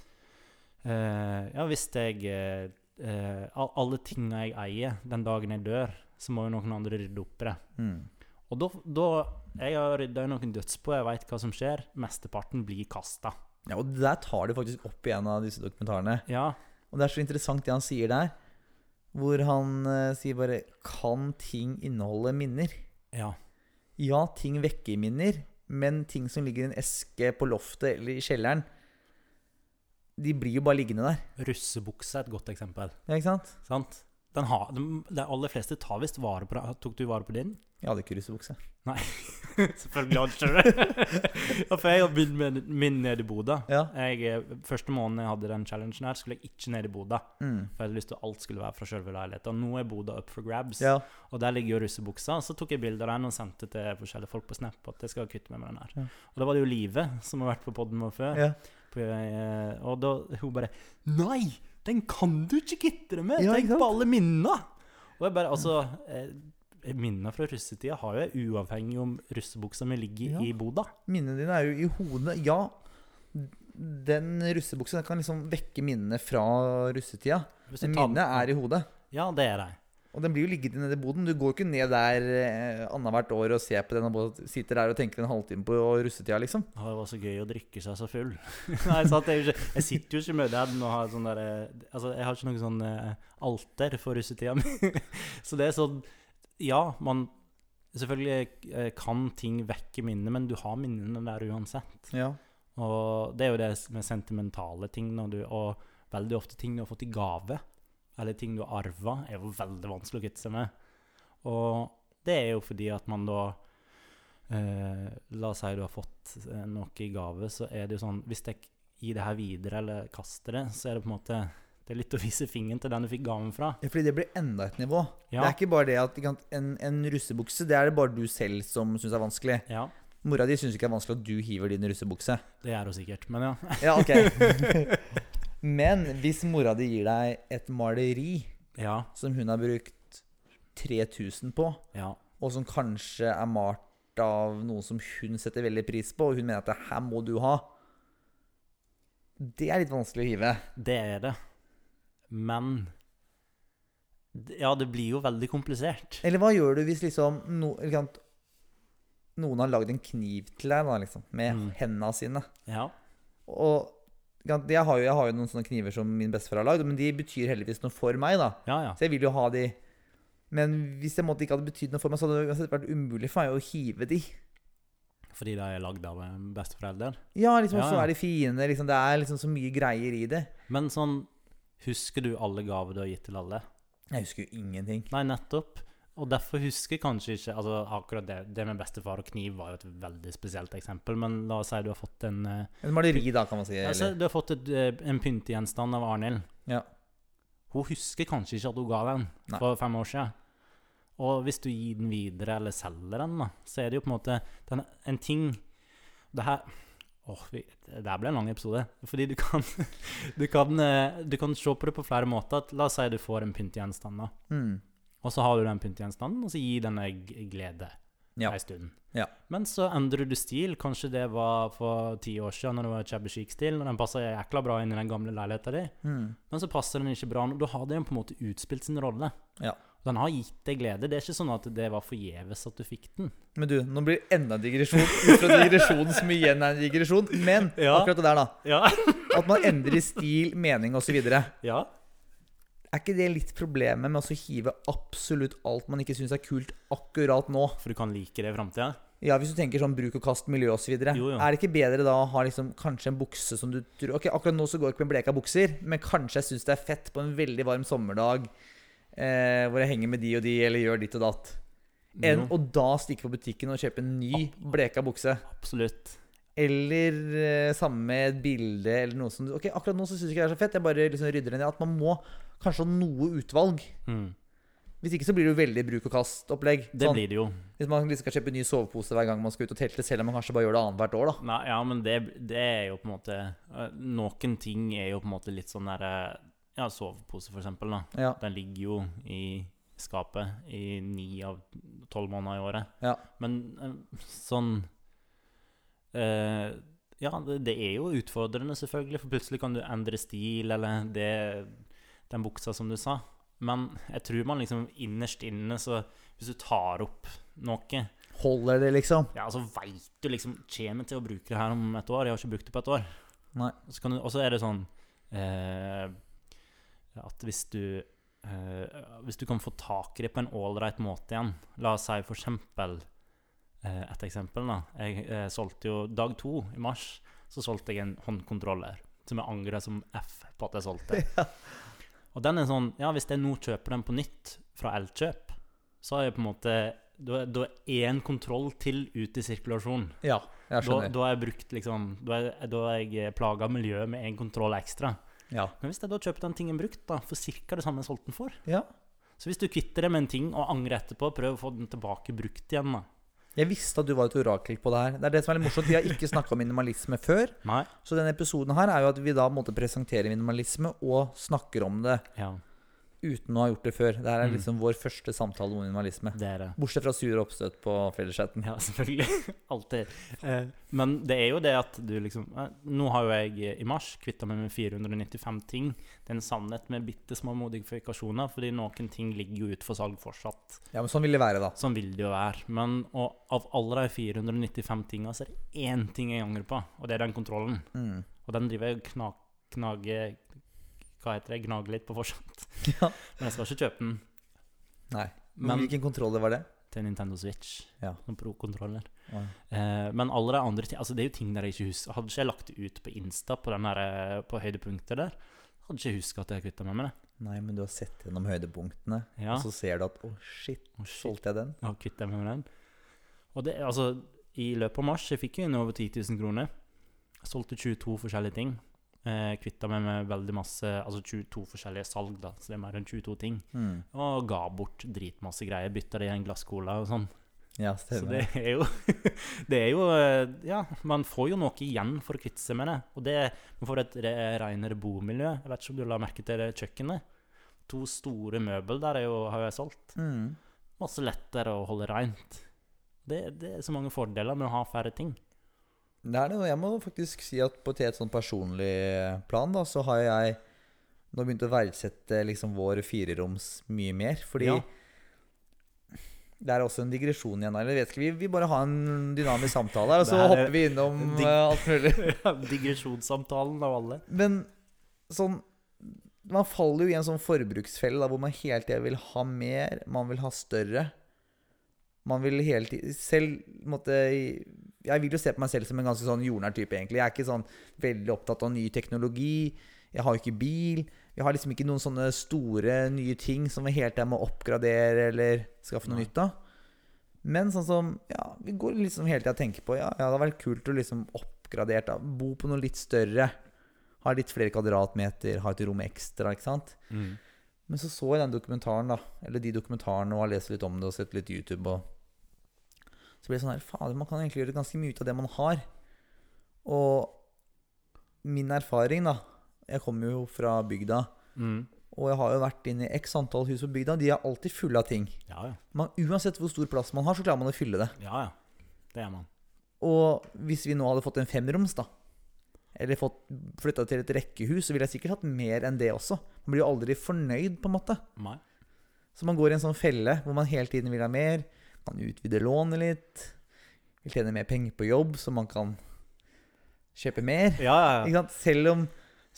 A: eh, Ja, hvis jeg eh, eh, al- Alle tinga jeg eier den dagen jeg dør, så må jo noen andre rydde opp i det.
B: Mm.
A: Og da, da Jeg har rydda i noen dødsbo, jeg veit hva som skjer. Mesteparten blir kasta.
B: Ja, og der tar de faktisk opp igjen av disse dokumentarene.
A: Ja,
B: Og det er så interessant det han sier der, hvor han eh, sier bare 'Kan ting inneholde minner?'
A: ja,
B: Ja, ting vekker minner, men ting som ligger i en eske på loftet eller i kjelleren, de blir jo bare liggende der.
A: russebukse er et godt eksempel.
B: Ja, ikke sant?
A: Sant? Den har, de, de aller fleste tar visst vare på det. Tok du vare på din?
B: Jeg hadde ikke russebukse.
A: Selvfølgelig har han ikke det. Ja, For jeg har begynt med min ned i Bodø.
B: Ja.
A: Jeg, eh, første måneden jeg hadde den challengen her, skulle jeg ikke ned i Bodø.
B: Mm.
A: For jeg hadde lyst til at alt skulle være fra selve leiligheten. Nå er Bodø up for grabs,
B: ja.
A: og der ligger jo russebuksa. Så tok jeg bilder av den og sendte til forskjellige folk på Snap at jeg skal kutte meg med den her.
B: Ja.
A: Og da var det jo Live som har vært på podden vår før.
B: Ja.
A: På, eh, og da hun bare Nei! Den kan du ikke kitte deg med!
B: Ja,
A: Tenk
B: ikke sant?
A: på alle minna! Og jeg bare, altså eh, Minna fra russetida har jo jeg uavhengig om russebuksa mi ligger
B: Ja.
A: i Bodø.
B: Minnene dine er jo i hodet. Ja, den russebuksa den kan liksom vekke minnene fra russetida.
A: Hvis du
B: Men
A: tar-
B: minnene er i hodet.
A: Ja, det er de.
B: Og den blir jo liggende nede i boden. Du går jo ikke ned der eh, annethvert år og ser på den og bare sitter der og tenker en halvtime på russetida, liksom.
A: Å, det var så gøy å drikke seg så full. Nei, sant? Jeg, er jo ikke, jeg sitter jo ikke med den og har sånn der, eh, altså, Jeg har ikke noe sånn eh, alter for russetida mi. så det er sånn Ja, man Selvfølgelig eh, kan ting vekke minner, men du har minnene der uansett.
B: Ja.
A: Og det er jo det med sentimentale ting, når du, og veldig ofte ting du har fått i gave, eller ting du har arva, er jo veldig vanskelig å kvitte seg med. Og det er jo fordi at man da eh, La oss si du har fått eh, noe i gave, så er det jo sånn Hvis jeg gir det her videre eller kaster det, så er det på en måte Det er litt å vise fingeren til den du fikk gaven fra.
B: Ja, fordi det blir enda et nivå. Det
A: Ja.
B: er ikke bare det at ikke sant, en, en russebukse Det er det bare du selv som syns er vanskelig.
A: ja.
B: Mora di syns ikke det er vanskelig at du hiver din russebukse.
A: Det er hun sikkert, men ja.
B: Ja, ok Men hvis mora di gir deg et maleri
A: Ja.
B: som hun har brukt 3000 på,
A: ja.
B: og som kanskje er malt av noen som hun setter veldig pris på, og hun mener at det her må du ha Det er litt vanskelig å hive.
A: Det er det. Men d- Ja, det blir jo veldig komplisert.
B: Eller hva gjør du hvis liksom no, eller sant, noen har lagd en kniv til deg da, liksom, med
A: Mm.
B: hendene sine?
A: Ja.
B: Og ikke sant, jeg har, jo, jeg har jo noen sånne kniver som min bestefar har lagd, men de betyr heldigvis noe for meg. da.
A: Ja, ja.
B: Så jeg vil jo ha de. Men hvis det måtte ikke hadde betydd noe for meg, så hadde det uansett vært umulig for meg å hive de.
A: Fordi det er lagd av eh, en besteforelder.
B: Ja, liksom,
A: Ja,
B: og så
A: ja.
B: er de fine. Liksom, det er liksom så mye greier i det.
A: Men sånn Husker du alle gaver du har gitt til alle?
B: Jeg husker jo ingenting.
A: Nei, nettopp. Og derfor husker kanskje ikke altså akkurat det, det med bestefar og kniv var jo et veldig spesielt eksempel, men la oss si du har fått en eh,
B: Et maleri, da, kan man si.
A: altså,
B: Eller.
A: Du har fått et, eh, en pyntegjenstand av Arnhild.
B: Ja.
A: Hun husker kanskje ikke at hun ga den
B: Nei.
A: for fem år siden. Og hvis du gir den videre, eller selger den, da, så er det jo på en måte den, en ting Det her Åh, vi, det her ble en lang episode. Fordi du kan, du, kan, eh, du kan se på det på flere måter. La oss si du får en pyntegjenstand. da.
B: Mm.
A: Og så har du den pyntegjenstanden, og så gir den deg glede
B: Ja.
A: en stund.
B: Ja.
A: Men så endrer du stil. Kanskje det var for ti år siden, når det var shabby chic-stil, og den passer jækla bra inn i den gamle leiligheten din.
B: Mm.
A: Men så passer den ikke bra. nå. Da har den på en måte utspilt sin rolle.
B: Ja.
A: Og Den har gitt deg glede. Det er ikke sånn at det var forgjeves at du fikk den.
B: Men du, nå blir det enda en digresjon ut fra digresjonen som igjen er en digresjon. Men
A: Ja.
B: akkurat det der, da.
A: Ja.
B: At man endrer stil, mening osv. Er
A: ja.
B: ikke det litt problemet med å så hive absolutt alt man ikke syns er kult akkurat nå?
A: For du kan like det i framtida.
B: Ja, Hvis du tenker sånn bruk og kast, miljø osv. Er
A: Jo, jo.
B: det ikke bedre da å ha liksom, kanskje en bukse som du tror Ok, akkurat nå så går jeg ikke med bleka bukser, men kanskje jeg syns det er fett på en veldig varm sommerdag eh, hvor jeg henger med de og de, eller gjør ditt og datt. Enn å da stikke på butikken og kjøpe en ny bleka bukse.
A: Absolutt.
B: Eller eh, samme et bilde eller noe som Ok, akkurat nå så syns jeg ikke det er så fett. Jeg bare liksom rydder det ned. At man må kanskje ha noe utvalg.
A: Mm.
B: Hvis ikke så blir det jo veldig bruk og kast-opplegg. Sånn,
A: Det blir det jo.
B: Hvis man liksom skal kjøpe ny sovepose hver gang man skal ut og telte, selv om man kanskje bare gjør det annethvert år, da.
A: Nei, ja, men det, det er jo på en måte eh, Noen ting er jo på en måte litt sånn derre Ja, sovepose, for eksempel. Da.
B: Ja.
A: Den ligger jo i skapet i ni av tolv måneder i året.
B: Ja.
A: Men eh, sånn eh, Ja, det, det er jo utfordrende, selvfølgelig, for plutselig kan du endre stil, eller det, den buksa, som du sa. Men jeg tror man liksom innerst inne, så hvis du tar opp noe
B: Holder det, liksom.
A: ja, altså veit du liksom Kommer jeg til å bruke det her om et år? Jeg har ikke brukt det på et år.
B: Nei.
A: Og så, kan du, og så er det sånn eh, At hvis du eh, Hvis du kan få tak i det på en ålreit måte igjen La oss si for eksempel eh, Et eksempel, da. Jeg eh, solgte jo Dag to i mars så solgte jeg en håndkontroller som jeg angrer som F på at jeg solgte. Og den er sånn Ja, hvis jeg nå kjøper den på nytt fra Elkjøp, så har jeg på en måte Da er- da er en kontroll til ute i sirkulasjon.
B: Ja,
A: Da,
B: jeg skjønner.
A: da har jeg brukt liksom Da er, da er jeg plaga miljøet med en kontroll ekstra.
B: Ja.
A: Men hvis jeg da kjøper den tingen brukt, da, for ca. det samme jeg solgte den for
B: ja.
A: Så hvis du kvitter deg med en ting og angrer etterpå, prøv å få den tilbake brukt igjen, da.
B: Jeg visste at du var et orakel på det her. Det er det som er litt morsomt. Vi har ikke snakka om minimalisme før,
A: Nei?
B: så denne episoden her er jo at vi da måtte presentere minimalisme og snakker om det
A: Ja,
B: uten å ha gjort det før. Det her er
A: Mm.
B: liksom vår første samtale om minimalisme.
A: det er det.
B: Bortsett fra sur oppstøt på felleschatten.
A: Ja, selvfølgelig. Alltid. Eh, men det er jo det at du liksom eh, Nå har jo jeg eh, i mars kvitta meg med 495 ting. Det er en sannhet med bitte små modifikasjoner, fordi noen ting ligger jo ute for salg fortsatt.
B: Ja, men sånn vil det være, da.
A: Sånn vil det jo være. Men og av alle de 495 tinga, så er det én ting jeg angrer på, og det er den kontrollen.
B: Mm.
A: Og den driver jeg og kna- knager Hva heter det? Gnager litt på fortsatt.
B: Ja.
A: Men jeg skal ikke kjøpe den
B: Nei. Men,
A: Men-
B: Hvilken kontroll det var det?
A: til Nintendo Switch.
B: Ja.
A: Som pro-kontroller.
B: Ja.
A: Eh, men alle de andre ting Altså, det er jo ting der jeg ikke husker. Hadde ikke jeg lagt det ut på Insta på, den her, eh, på høydepunktet der, hadde ikke jeg huska at jeg kvitta meg med det.
B: Nei, men du har sett gjennom høydepunktene,
A: Ja.
B: og så ser du at å, shit,
A: Å, shit,
B: solgte jeg den?
A: jeg har kvittet meg med den. Og det, altså, i løpet av mars jeg fikk jo inn over 10 000 kroner. Jeg solgte 22 forskjellige ting. Eh, Kvitta meg med veldig masse Altså 22 forskjellige salg, da, så det er mer enn 22 ting.
B: Mm.
A: Og ga bort dritmasse greier. Bytta det i en glass cola og sånn.
B: Ja,
A: Så
B: stemmer.
A: det er jo Det er jo eh, Ja, man får jo noe igjen for å kvitte seg med det. Og det Man får et re- renere bomiljø. Jeg vet ikke om du la merke til det kjøkkenet. To store møbel der er jo, har jeg solgt.
B: Mm.
A: Masse lettere å holde rent. Det, det er så mange fordeler med å ha færre ting.
B: Det er det, og jeg må faktisk si at på til et sånn personlig plan, da, så har jeg nå begynt å verdsette liksom vår fireroms mye mer. Fordi
A: Ja.
B: det er også en digresjon igjen. Eller vet ikke, vi, vi bare har en dynamisk samtale her, og
A: Det
B: så
A: her er
B: hopper vi innom
A: dig-
B: eh, alt mulig.
A: Digresjonssamtalen av alle.
B: Men sånn Man faller jo i en sånn forbruksfelle da, hvor man hele tida vil ha mer, man vil ha større. Man vil hele tiden Selv måtte Jeg vil jo se på meg selv som en ganske sånn jordnær type, egentlig. Jeg er ikke sånn veldig opptatt av ny teknologi. Jeg har jo ikke bil. Jeg har liksom ikke noen sånne store, nye ting som vi hele tida må oppgradere eller skaffe noe
A: Nei.
B: nytt av. Men sånn som Ja, vi går liksom hele tida og tenker på Ja, ja, det hadde vært kult å liksom oppgradert, da. Bo på noe litt større. Ha litt flere kvadratmeter, ha et rom ekstra, ikke sant.
A: Mm.
B: Men så så jeg den dokumentaren, da. Eller de dokumentarene, og har lest litt om det og sett litt YouTube og Så ble det sånn her Fader, man kan egentlig gjøre ganske mye ut av det man har. Og min erfaring, da Jeg kommer jo fra bygda,
A: Mm.
B: og jeg har jo vært inne i x antall hus på bygda. De er alltid fulle av ting.
A: Ja, ja.
B: Man, uansett hvor stor plass man har, så klarer man å fylle det.
A: Ja, ja. Det er man.
B: Og hvis vi nå hadde fått en femroms, da, eller fått flytta til et rekkehus, så ville jeg sikkert hatt mer enn det også. Man blir jo aldri fornøyd, på en måte.
A: Nei.
B: Så man går i en sånn felle hvor man hele tiden vil ha mer. Man utvider lånet litt. Vil tjene mer penger på jobb, så man kan kjøpe mer.
A: Ja, ja, ja.
B: Ikke sant? Selv om,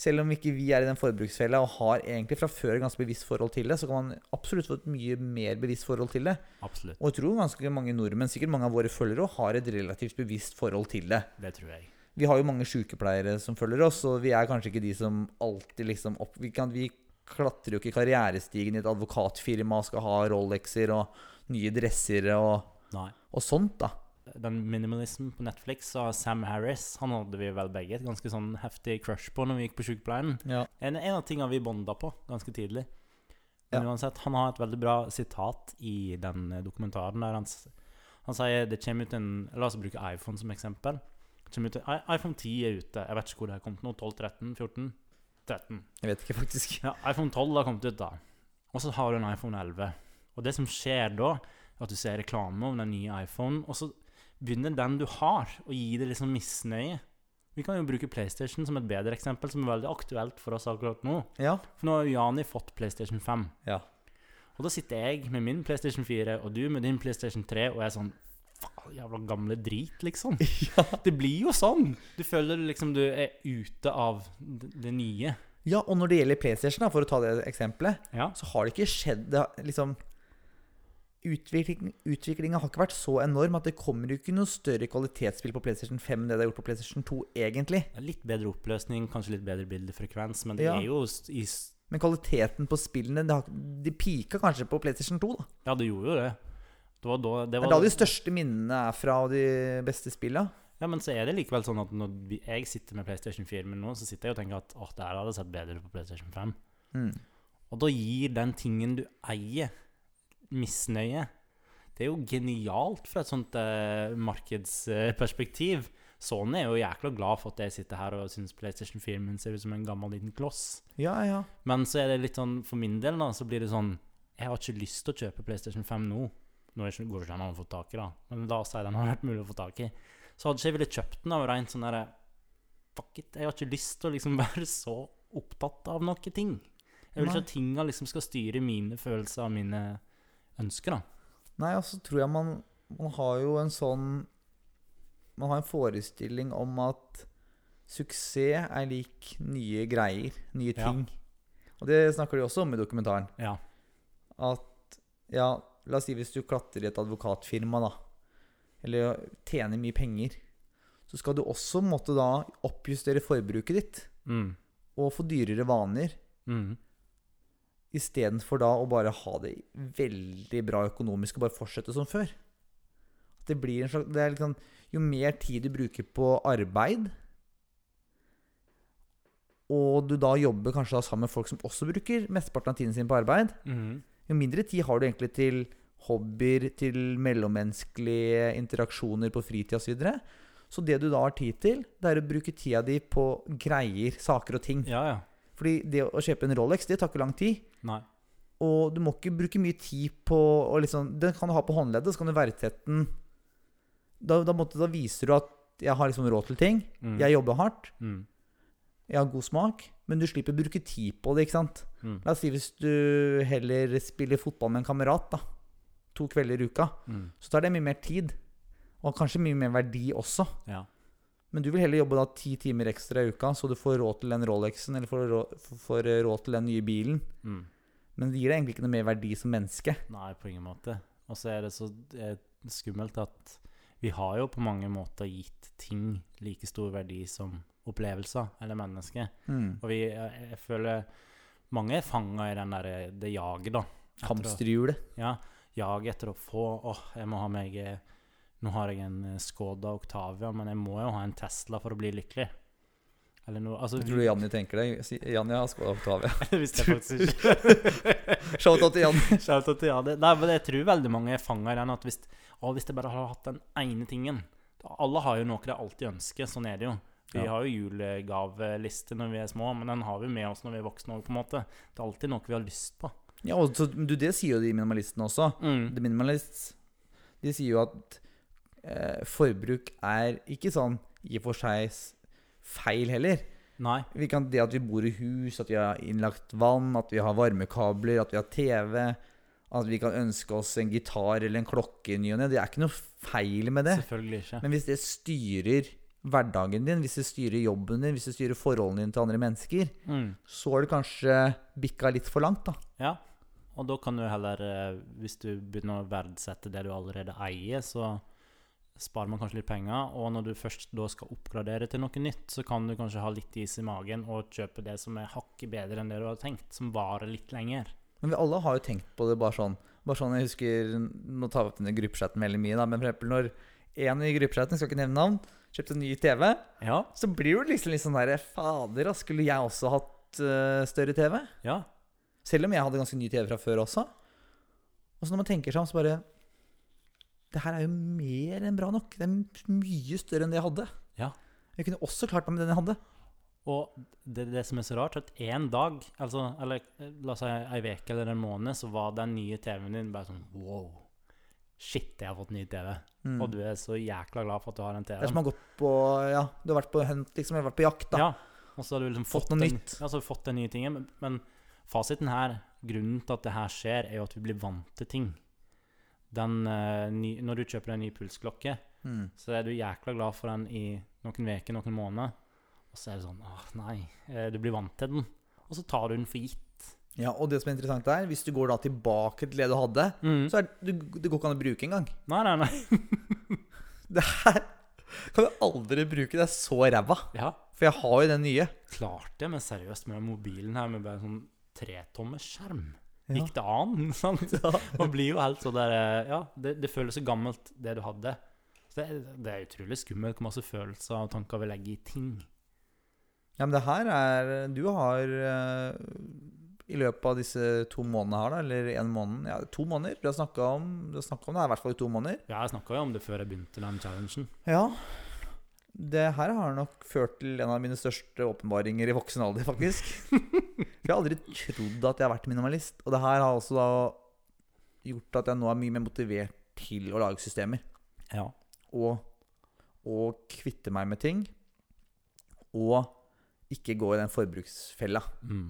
B: selv om ikke vi er i den forbruksfella og har egentlig fra før et ganske bevisst forhold til det, så kan man absolutt få et mye mer bevisst forhold til det.
A: Absolutt.
B: Og jeg tror ganske mange nordmenn, sikkert mange av våre følgere, også, har et relativt bevisst forhold til det.
A: Det tror jeg.
B: Vi har jo mange sykepleiere som følger oss, og vi er kanskje ikke de som alltid liksom opp... Vi, kan, vi klatrer jo ikke karrierestigen i et advokatfirma og skal ha Rolexer og nye dresser og,
A: Nei.
B: og sånt, da.
A: Den minimalismen på Netflix av Sam Harris, han hadde vi vel begge et ganske sånn heftig crush på når vi gikk på sykepleien. En, en av tingene vi bonda på ganske tidlig. Men
B: Ja.
A: uansett, han har et veldig bra sitat i den eh, dokumentaren der han, s- han sier det kommer ut en La oss bruke iPhone som eksempel. Det kommer Ut en, I- iPhone 10 er ute. Jeg vet ikke hvor det har kommet nå. 12, 13, 14? 13.
B: Jeg vet ikke, faktisk.
A: Ja, iPhone 12 har kommet ut, da. Og så har du en iPhone 11. Og det som skjer da, er at du ser reklame om den nye iPhonen, og så begynner den du har, å gi deg liksom misnøye. Vi kan jo bruke PlayStation som et bedre eksempel, som er veldig aktuelt for oss akkurat nå.
B: Ja.
A: For nå har jo Jani fått PlayStation 5.
B: Ja.
A: Og da sitter jeg med min PlayStation 4, og du med din PlayStation 3, og jeg er sånn Faen, jævla gamle drit, liksom. Det blir jo sånn. Du føler liksom du er ute av det, det nye.
B: ja, og når det gjelder PlayStation, da, for å ta det eksempelet,
A: Ja.
B: så har det ikke skjedd det har, liksom Utvikling, Utviklinga har ikke vært så enorm at det kommer jo ikke noe større kvalitetsspill på PlayStation 5 enn det det har gjort på PlayStation 2, egentlig.
A: Litt bedre oppløsning, kanskje litt bedre bildefrekvens, men det
B: Ja.
A: er jo s- i s-
B: Men kvaliteten på spillene det har, De pika kanskje på PlayStation 2, da.
A: Ja, det gjorde jo det. Det var da det
B: Det
A: var,
B: er da de største minnene er fra og de beste spilla.
A: Ja, men så er det likevel sånn at når vi- jeg sitter med PlayStation 4 med nå, så sitter jeg og tenker at åh, det her hadde sett bedre ut på PlayStation 5.
B: Mm.
A: Og da gir den tingen du eier, misnøye. Det er jo genialt fra et sånt eh, markedsperspektiv. Sony er jo jækla glad for at jeg sitter her og syns PlayStation 4 min ser ut som en gammel liten kloss.
B: Ja, ja.
A: Men så er det litt sånn, for min del da, så blir det sånn Jeg har ikke lyst til å kjøpe PlayStation 5 nå. Nå er det ikke- går det ikke an å få tak i, da. Men la oss si den har vært mulig å få tak i. Så hadde ikke jeg villet kjøpt den av rent sånn derre Fuck it, jeg har ikke lyst til å liksom være så opptatt av noen ting. Jeg vil
B: Nei.
A: ikke at tinga liksom skal styre mine følelser og mine ønsker, da.
B: Nei, og så tror jeg man, man har jo en sånn Man har en forestilling om at suksess er lik nye greier, nye
A: Ja.
B: ting. Og det snakker de også om i dokumentaren.
A: Ja.
B: At ja, la oss si hvis du klatrer i et advokatfirma, da. Eller tjener mye penger. Så skal du også måtte da oppjustere forbruket ditt.
A: Mm.
B: Og få dyrere vaner.
A: Mm.
B: Istedenfor da å bare ha det veldig bra økonomisk og bare fortsette som før. At det blir en slags det er liksom, Jo mer tid du bruker på arbeid, og du da jobber kanskje da sammen med folk som også bruker mesteparten av tiden sin på arbeid,
A: Mhm.
B: jo mindre tid har du egentlig til hobbyer, til mellommenneskelige interaksjoner på fritid osv. Så, videre. så det du da har tid til, det er å bruke tida di på greier, saker og ting.
A: Ja, ja.
B: Fordi det å kjøpe en Rolex, det tar ikke lang tid.
A: Nei.
B: Og du må ikke bruke mye tid på å liksom, Den kan du ha på håndleddet, så kan du verdsette den. Da, da, måtte, da viser du at jeg har liksom råd til ting.
A: Mm.
B: Jeg jobber hardt.
A: Mm.
B: Jeg har god smak. Men du slipper å bruke tid på det, ikke sant.
A: Mm.
B: La oss si hvis du heller spiller fotball med en kamerat, da. To kvelder i uka.
A: Mm.
B: Så tar det mye mer tid. Og kanskje mye mer verdi også.
A: Ja.
B: Men du vil heller jobbe da ti timer ekstra i uka, så du får råd til den Rolexen, eller får råd, får råd til den nye bilen.
A: Mm.
B: Men det gir deg egentlig ikke noe mer verdi som menneske.
A: Nei, på ingen måte. Og så er det så eh, skummelt at vi har jo på mange måter gitt ting like stor verdi som opplevelser eller mennesker.
B: Mm.
A: Og vi, jeg, jeg føler mange er fanga i den der, det jaget, da. Etter å-
B: Hamsterhjulet.
A: Ja. Jaget etter å få Åh, jeg må ha meg eh, Nå har jeg en eh, Skoda Octavia, men jeg må jo ha en Tesla for å bli lykkelig. Eller noe Altså,
B: Jeg tror du Janni tenker det. Si- Janni har skåla Octavia.
A: det visste jeg faktisk ikke.
B: Shout-out til Janni.
A: Shoutout til Jade. Nei, men jeg tror veldig mange er fanga i den at hvis, å, hvis jeg bare hadde hatt den ene tingen da- Alle har jo noe de alltid ønsker, sånn er det jo. Vi
B: Ja.
A: har jo julegaveliste når vi er små, men den har vi med oss når vi er voksne òg, på en måte. Det er alltid noe vi har lyst på.
B: Ja, og så, du, det sier jo de minimalistene også.
A: Mm.
B: The Minimalists de sier jo at eh, forbruk er ikke sånn i og for seg s- feil heller.
A: Nei.
B: Vi kan, det at vi bor i hus, at vi har innlagt vann, at vi har varmekabler, at vi har TV, at vi kan ønske oss en gitar eller en klokke i ny og ne, det er ikke noe feil med det.
A: Selvfølgelig ikke.
B: Men hvis det styrer hverdagen din, hvis det styrer jobben din, hvis det styrer forholdene dine til andre mennesker,
A: Mm.
B: så har du kanskje bikka litt for langt, da.
A: Ja. Og da kan du heller, eh, hvis du begynner å verdsette det du allerede eier, så sparer man kanskje litt penger. Og når du først da skal oppgradere til noe nytt, så kan du kanskje ha litt is i magen og kjøpe det som er hakket bedre enn det du hadde tenkt, som varer litt lenger.
B: Men vi alle har jo tenkt på det bare sånn. Bare sånn, Jeg husker Nå tar vi opp denne gruppechatten veldig mye, da, men for eksempel når en i gruppechatten, skal ikke nevne navn, kjøpte en ny TV,
A: Ja.
B: så blir du liksom litt sånn derre Fader, ass, skulle jeg også hatt øh, større TV?
A: Ja.
B: Selv om jeg hadde ganske ny TV fra før også. Og så når man tenker seg om, så bare Det her er jo mer enn bra nok. Det er mye større enn det jeg hadde.
A: Ja.
B: Jeg kunne også klart meg med den jeg hadde.
A: Og det, det som er så rart, at en dag, altså, eller eh, la oss si ei uke eller en måned, så var den nye TV-en din bare sånn wow. Shit, jeg har fått ny TV.
B: Mm.
A: Og du er så jækla glad for at du har den
B: Det er
A: TV-en.
B: som å ha gått på Ja, du har vært på hunt, liksom. Eller vært på jakt, da.
A: Ja, og så har du liksom
B: Fått
A: fått,
B: noe
A: den,
B: nytt.
A: ja, så har du fått den nye tingen. Men, men fasiten her, grunnen til at det her skjer, er jo at vi blir vant til ting. Den, eh, ny, når du kjøper deg en ny pulsklokke,
B: Mm.
A: så er du jækla glad for den i noen uker, noen måneder. Og så er det sånn Åh, nei. eh, Du blir vant til den. Og så tar du den for gitt.
B: Ja, og det som er interessant der, hvis du går da tilbake til det du hadde,
A: Mm.
B: så er det, det går ikke an å bruke engang.
A: Nei, nei, nei.
B: Det her kan du aldri bruke, det er så ræva.
A: Ja,
B: For jeg har jo den nye.
A: klart det, men seriøst, med den mobilen her med bare sånn tretommers skjerm.
B: Ja.
A: Gikk det an? Sant?
B: Ja.
A: Man blir jo helt sånn der eh, Ja, det, det føles så gammelt, det du hadde. Så det, er- det er utrolig skummelt hvor masse følelser og tanker vi legger i ting.
B: Ja, men det her er Du har eh, i løpet av disse to månedene her, da, eller en måned Ja, to måneder. Du har snakka om, du har snakket om det her i hvert fall i to måneder.
A: Ja, jeg snakka jo om det før jeg begynte den challengen.
B: Ja. Det her har nok ført til en av mine største åpenbaringer i voksen alder, faktisk. For jeg har aldri trodd at jeg har vært minimalist. Og det her har også da gjort at jeg nå er mye mer motivert til å lage systemer.
A: Ja.
B: Og, og kvitte meg med ting. Og ikke gå i den forbruksfella.
A: Mm.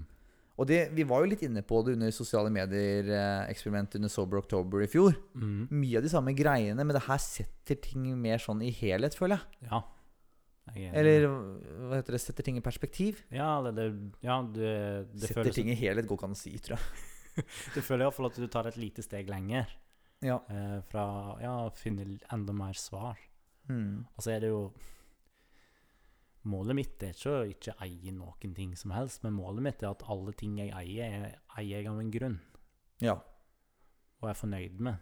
B: Og det, vi var jo litt inne på det under sosiale medier-eksperimentet under Sober October i fjor.
A: Mm.
B: Mye av de samme greiene, men det her setter ting mer sånn i helhet, føler jeg.
A: Ja. Jeg er-
B: Eller hva heter det? Setter ting i perspektiv?
A: Ja, det, det, ja det, det
B: Setter
A: føles sånn.
B: ting i helhet går ikke an å si, tror jeg.
A: Du føler iallfall at du tar et lite steg lenger.
B: Ja.
A: Eh, fra ja, å finne enda mer svar.
B: Mm.
A: Og så er det jo Målet mitt er ikke å ikke eie noen ting som helst, men målet mitt er at alle ting jeg eier, er- eier jeg av en grunn,
B: ja.
A: og er fornøyd med.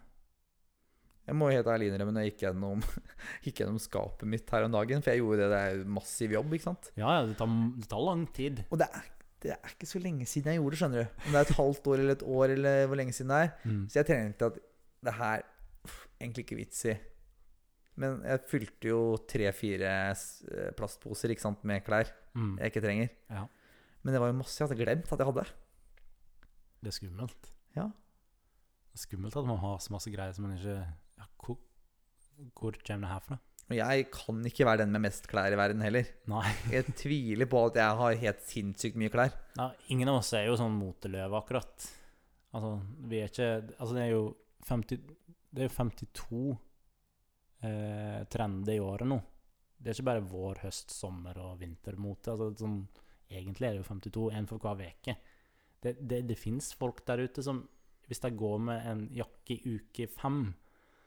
B: Jeg må helt ærlig innrømme når jeg gikk gjennom, gikk gjennom skapet mitt her om dagen, for jeg gjorde det, det er jo massiv jobb, ikke sant.
A: Ja, ja, det tar, det tar lang tid.
B: Og det er, det er ikke så lenge siden jeg gjorde det, skjønner du. Om det er et halvt år eller et år eller hvor lenge siden det er.
A: Mm.
B: Så jeg tenkte at det her pff, egentlig ikke vits i. Men jeg fylte jo tre-fire s- eh, plastposer ikke sant, med klær
A: Mm.
B: jeg ikke trenger.
A: Ja.
B: Men det var jo masse jeg hadde glemt at jeg hadde.
A: Det er skummelt.
B: Ja.
A: Det er skummelt at man har så masse greier som man ikke ja, hvor, hvor kommer det her fra?
B: Og jeg kan ikke være den med mest klær i verden heller.
A: Nei.
B: Jeg tviler på at jeg har helt sinnssykt mye klær.
A: Ja, ingen av oss er jo sånn moteløve, akkurat. Altså, vi er ikke Altså, det er jo 50, det er jo 52 eh, trender i året nå. Det er ikke bare vår, høst, sommer og vintermote. Altså, det er sånn, egentlig er det jo 52, én for hver uke. Det, det, det fins folk der ute som Hvis de går med en jakke i uke fem,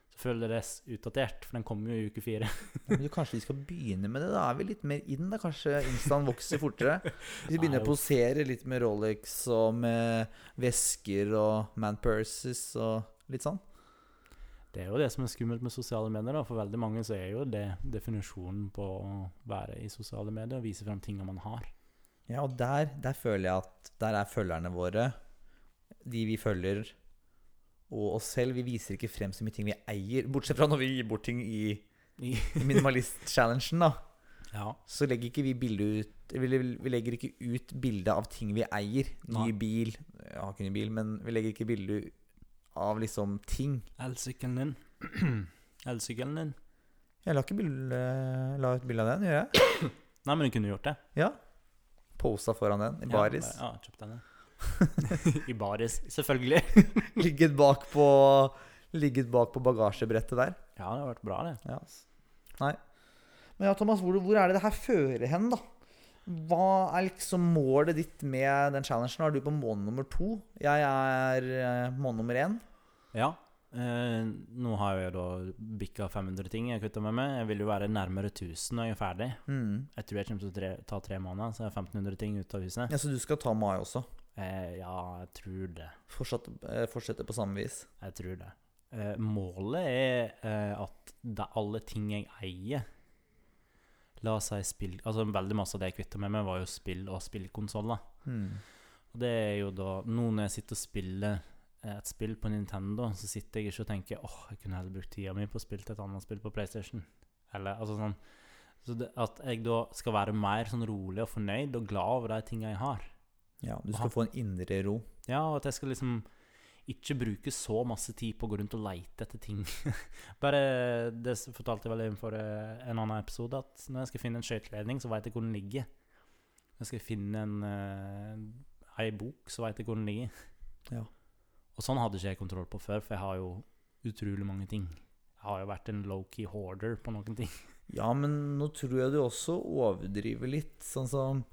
A: så føler det s- utdatert, for den kommer jo i uke fire.
B: Men du, kanskje vi skal begynne med det? Da er vi litt mer inn, da. Kanskje instaen vokser fortere. Hvis vi
A: Nei,
B: begynner å posere litt med Rolex og med eh, vesker og man purses og litt sånn.
A: Det er jo det som er skummelt med sosiale medier. Da. For veldig mange så er jo det definisjonen på å være i sosiale medier, og vise frem tinga man har.
B: Ja, og der, der føler jeg at der er følgerne våre, de vi følger, og oss selv. Vi viser ikke frem så mye ting vi eier, bortsett fra når vi gir bort ting i
A: I-
B: minimalist-challengen, da.
A: Ja.
B: Så legger ikke vi bilde ut Vi vi legger ikke ut bilde av ting vi eier. Ny
A: Nei.
B: bil Jeg har ikke ny bil, men vi legger ikke bilde av liksom ting.
A: Elsykkelen din. Elsykkelen din.
B: Jeg la ikke bilde, la ut bilde av den, gjør jeg?
A: Nei, men du kunne gjort det.
B: Ja. Posa foran den i
A: Ja,
B: baris.
A: bare- Ja, kjøpt den. ja. I baris, selvfølgelig.
B: Ligget bak på Ligget bak på bagasjebrettet der.
A: Ja, det har vært bra, det.
B: Ja. ass. Nei. Men ja, Thomas, hvor, hvor er det det her fører hen, da? Hva er liksom målet ditt med den challengen? Er du på måned nummer to? Jeg er eh, måned nummer én.
A: Ja. Eh, nå har jeg jo da bikka 500 ting jeg kutta med meg. Jeg vil jo være nærmere 1000 når jeg er ferdig.
B: Mm.
A: Jeg tror jeg kommer til å tre, ta tre måneder, så jeg har 1500 ting ute av huset.
B: Ja, Så du skal ta mai også?
A: Eh, ja, jeg tror det.
B: Fortsatt, eh, fortsette på samme vis?
A: Jeg tror det. Eh, målet er eh, at det er alle ting jeg eier La oss si spill Altså Veldig masse av det jeg kvitta meg med, var jo spill og spillkonsoller.
B: Mm.
A: Og det er jo da Nå når jeg sitter og spiller eh, et spill på Nintendo, så sitter jeg ikke og tenker åh, jeg kunne heller brukt tida mi på å spille et annet spill på PlayStation. Eller altså sånn Så det, at jeg da skal være mer sånn rolig og fornøyd og glad over de tinga jeg har.
B: Ja, Du
A: Aha.
B: skal få en indre ro.
A: Ja, og at jeg skal liksom ikke bruke så masse tid på å gå rundt og leite etter ting. Bare Det s- fortalte jeg vel innenfor eh, en annen episode, at når jeg skal finne en skøyteledning, så veit jeg hvor den ligger. Når jeg skal finne en eh, ei bok, så veit jeg hvor den ligger.
B: Ja.
A: Og sånn hadde ikke jeg kontroll på før, for jeg har jo utrolig mange ting. Jeg har jo vært en low-key hoarder på noen ting.
B: Ja, men nå tror jeg du også overdriver litt. Sånn som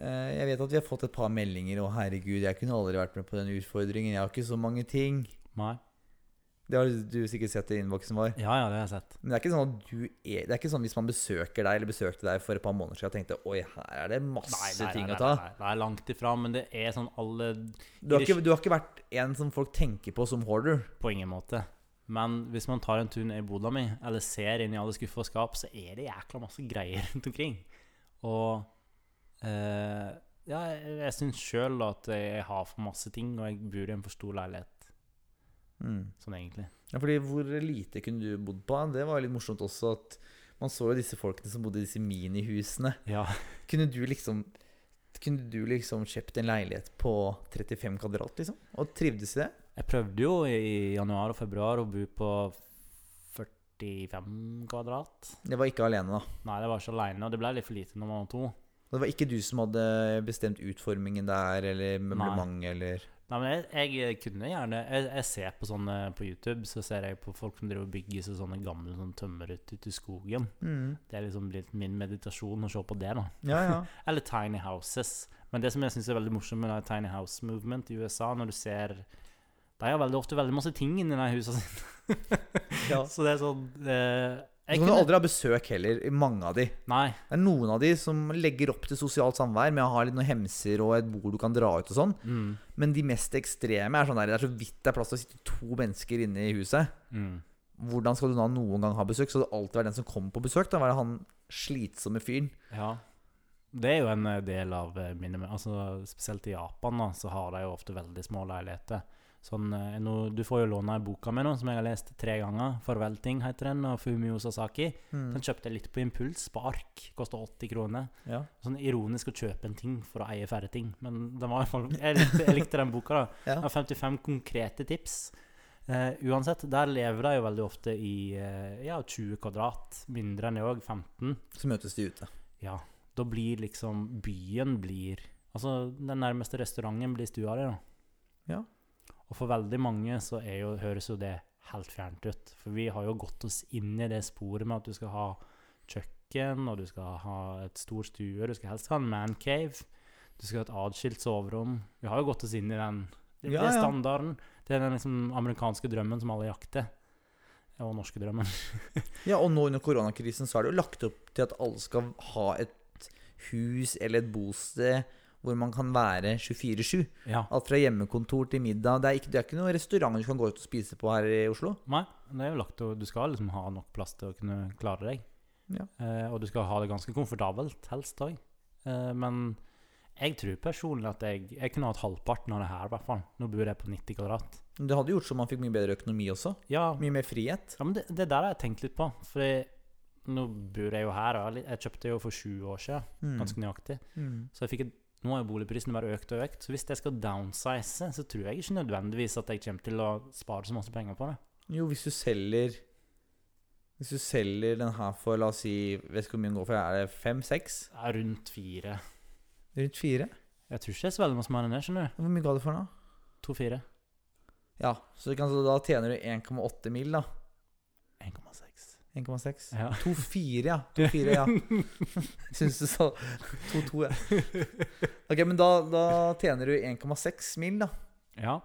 B: eh, Jeg vet at vi har fått et par meldinger 'Å, herregud, jeg kunne aldri vært med på den utfordringen. Jeg har ikke så mange ting'.
A: Nei.
B: Det har du sikkert sett i innboksen vår.
A: Ja, ja, det har jeg sett.
B: Men det er ikke sånn at du er Det er ikke sånn hvis man besøker deg eller besøkte deg for et par måneder siden og tenkte 'Oi, her er det masse ting å ta'.
A: nei, nei. Det er langt ifra, men det er sånn alle
B: Du har, ikke, du har ikke vært en som folk tenker på som hoarder.
A: På ingen måte. Men hvis man tar en tur ned i boda mi, eller ser inn i alle skuffer og skap, så er det jækla masse greier rundt omkring. Og eh, ja, jeg, jeg syns sjøl at jeg har for masse ting, og jeg bor i en for stor leilighet,
B: Mm.
A: sånn egentlig.
B: Ja, fordi hvor lite kunne du bodd på? Det var jo litt morsomt også at man så jo disse folkene som bodde i disse minihusene.
A: Ja.
B: Kunne du liksom kunne du liksom kjøpt en leilighet på 35 kvadrat, liksom? Og trivdes i det?
A: Jeg prøvde jo i januar og februar å bo på 45 kvadrat.
B: Det var ikke alene, da.
A: Nei, det var ikke aleine, og det ble litt for lite når man var to.
B: Det var ikke du som hadde bestemt utformingen der, eller møblementet, eller
A: Nei, men jeg, jeg kunne gjerne jeg, jeg ser på sånne på YouTube, så ser jeg på folk som driver og bygger seg sånne gamle sånn tømmerhytter ute i skogen.
B: mm.
A: Det er liksom litt min meditasjon å se på det, da.
B: Ja, ja.
A: Eller tiny houses. Men det som jeg syns er veldig morsomt med det tiny house movement i USA, når du ser De har veldig ofte veldig masse ting inni de husene sine.
B: ja.
A: Så det er sånn eh,
B: Så
A: Jeg
B: kan du
A: kunne-
B: aldri ha besøk heller, i mange av de.
A: Nei.
B: Det er noen av de som legger opp til sosialt samvær med å ha litt noen hemser og et bord du kan dra ut og sånn.
A: Mm.
B: Men de mest ekstreme er sånn der det er så vidt det er plass til å sitte to mennesker inne i huset.
A: Mm.
B: Hvordan skal du da noen gang ha besøk? Så det alltid være den som kommer på besøk. Da være han slitsomme fyren.
A: Ja. Det er jo en eh, del av eh, minimum... Altså, spesielt i Japan da, så har de jo ofte veldig små leiligheter. Sånn, eh, nå, du får jo låne ei boka mi nå, som jeg har lest tre ganger. 'Farvel ting' heter den, av Fumio Sasaki.
B: Mm.
A: Den kjøpte jeg litt på impuls. Spark kosta 80 kroner.
B: Ja.
A: Sånn ironisk å kjøpe en ting for å eie færre ting, men den var i hvert fall, jeg, likte, jeg likte den boka. da.
B: Ja.
A: Jeg har 55 konkrete tips. Eh, uansett, der lever de jo veldig ofte i eh, ja, 20 kvadrat, mindre enn det òg, 15.
B: Så møtes de ute.
A: Ja, da blir liksom byen blir Altså, den nærmeste restauranten blir stua di, da.
B: Ja.
A: Og for veldig mange så er jo, høres jo det helt fjernt ut. For vi har jo gått oss inn i det sporet med at du skal ha kjøkken, og du skal ha et stor stue, du skal helst ha en mancave, du skal ha et adskilt soverom. Vi har jo gått oss inn i den det,
B: Ja,
A: det er
B: ja.
A: standarden. Det er den liksom amerikanske drømmen som alle jakter. Og norske drømmen.
B: Ja, og nå under koronakrisen så er det jo lagt opp til at alle skal ha et hus eller et bosted hvor man kan være 24-7.
A: Ja.
B: Alt fra hjemmekontor til middag. Det er ikke, det er ikke noen restaurant du kan gå ut og spise på her i Oslo.
A: Nei, det er jo lagt til Du skal liksom ha nok plass til å kunne klare deg.
B: Ja.
A: Eh, og du skal ha det ganske komfortabelt, helst òg. Eh, men jeg tror personlig at jeg, jeg kunne hatt halvparten av det her, i hvert fall. Nå bor jeg på 90 kvadrat.
B: Men Det hadde gjort så man fikk mye bedre økonomi også.
A: Ja,
B: Mye mer frihet.
A: ja men det, det der har jeg tenkt litt på. For jeg, nå bor jeg jo her. og jeg har litt- Jeg kjøpte jo for 20 år siden,
B: Mm.
A: ganske nøyaktig.
B: Mm.
A: Så jeg fikk et, nå har jo boligprisene bare økt og økt. Så hvis jeg skal downsize, så tror jeg ikke nødvendigvis at jeg kommer til å spare så masse penger på det.
B: Jo, hvis du selger Hvis du selger den her for, la oss si jeg Vet ikke hvor mye den går for, er det fem-seks?
A: Det er Rundt fire.
B: Rundt fire?
A: Jeg tror ikke det er så veldig masse mer enn det, skjønner du.
B: Hvor mye ga du for den, da?
A: To-fire.
B: Ja, så, du kan, så da tjener du 1,8 mil, da.
A: 1,6.
B: 1,6.
A: Ja.
B: 2,4, ja. 2,4, ja. Syns du sa 2,2, ja. Ok, men da, da tjener du 1,6 mil, da.
A: ja.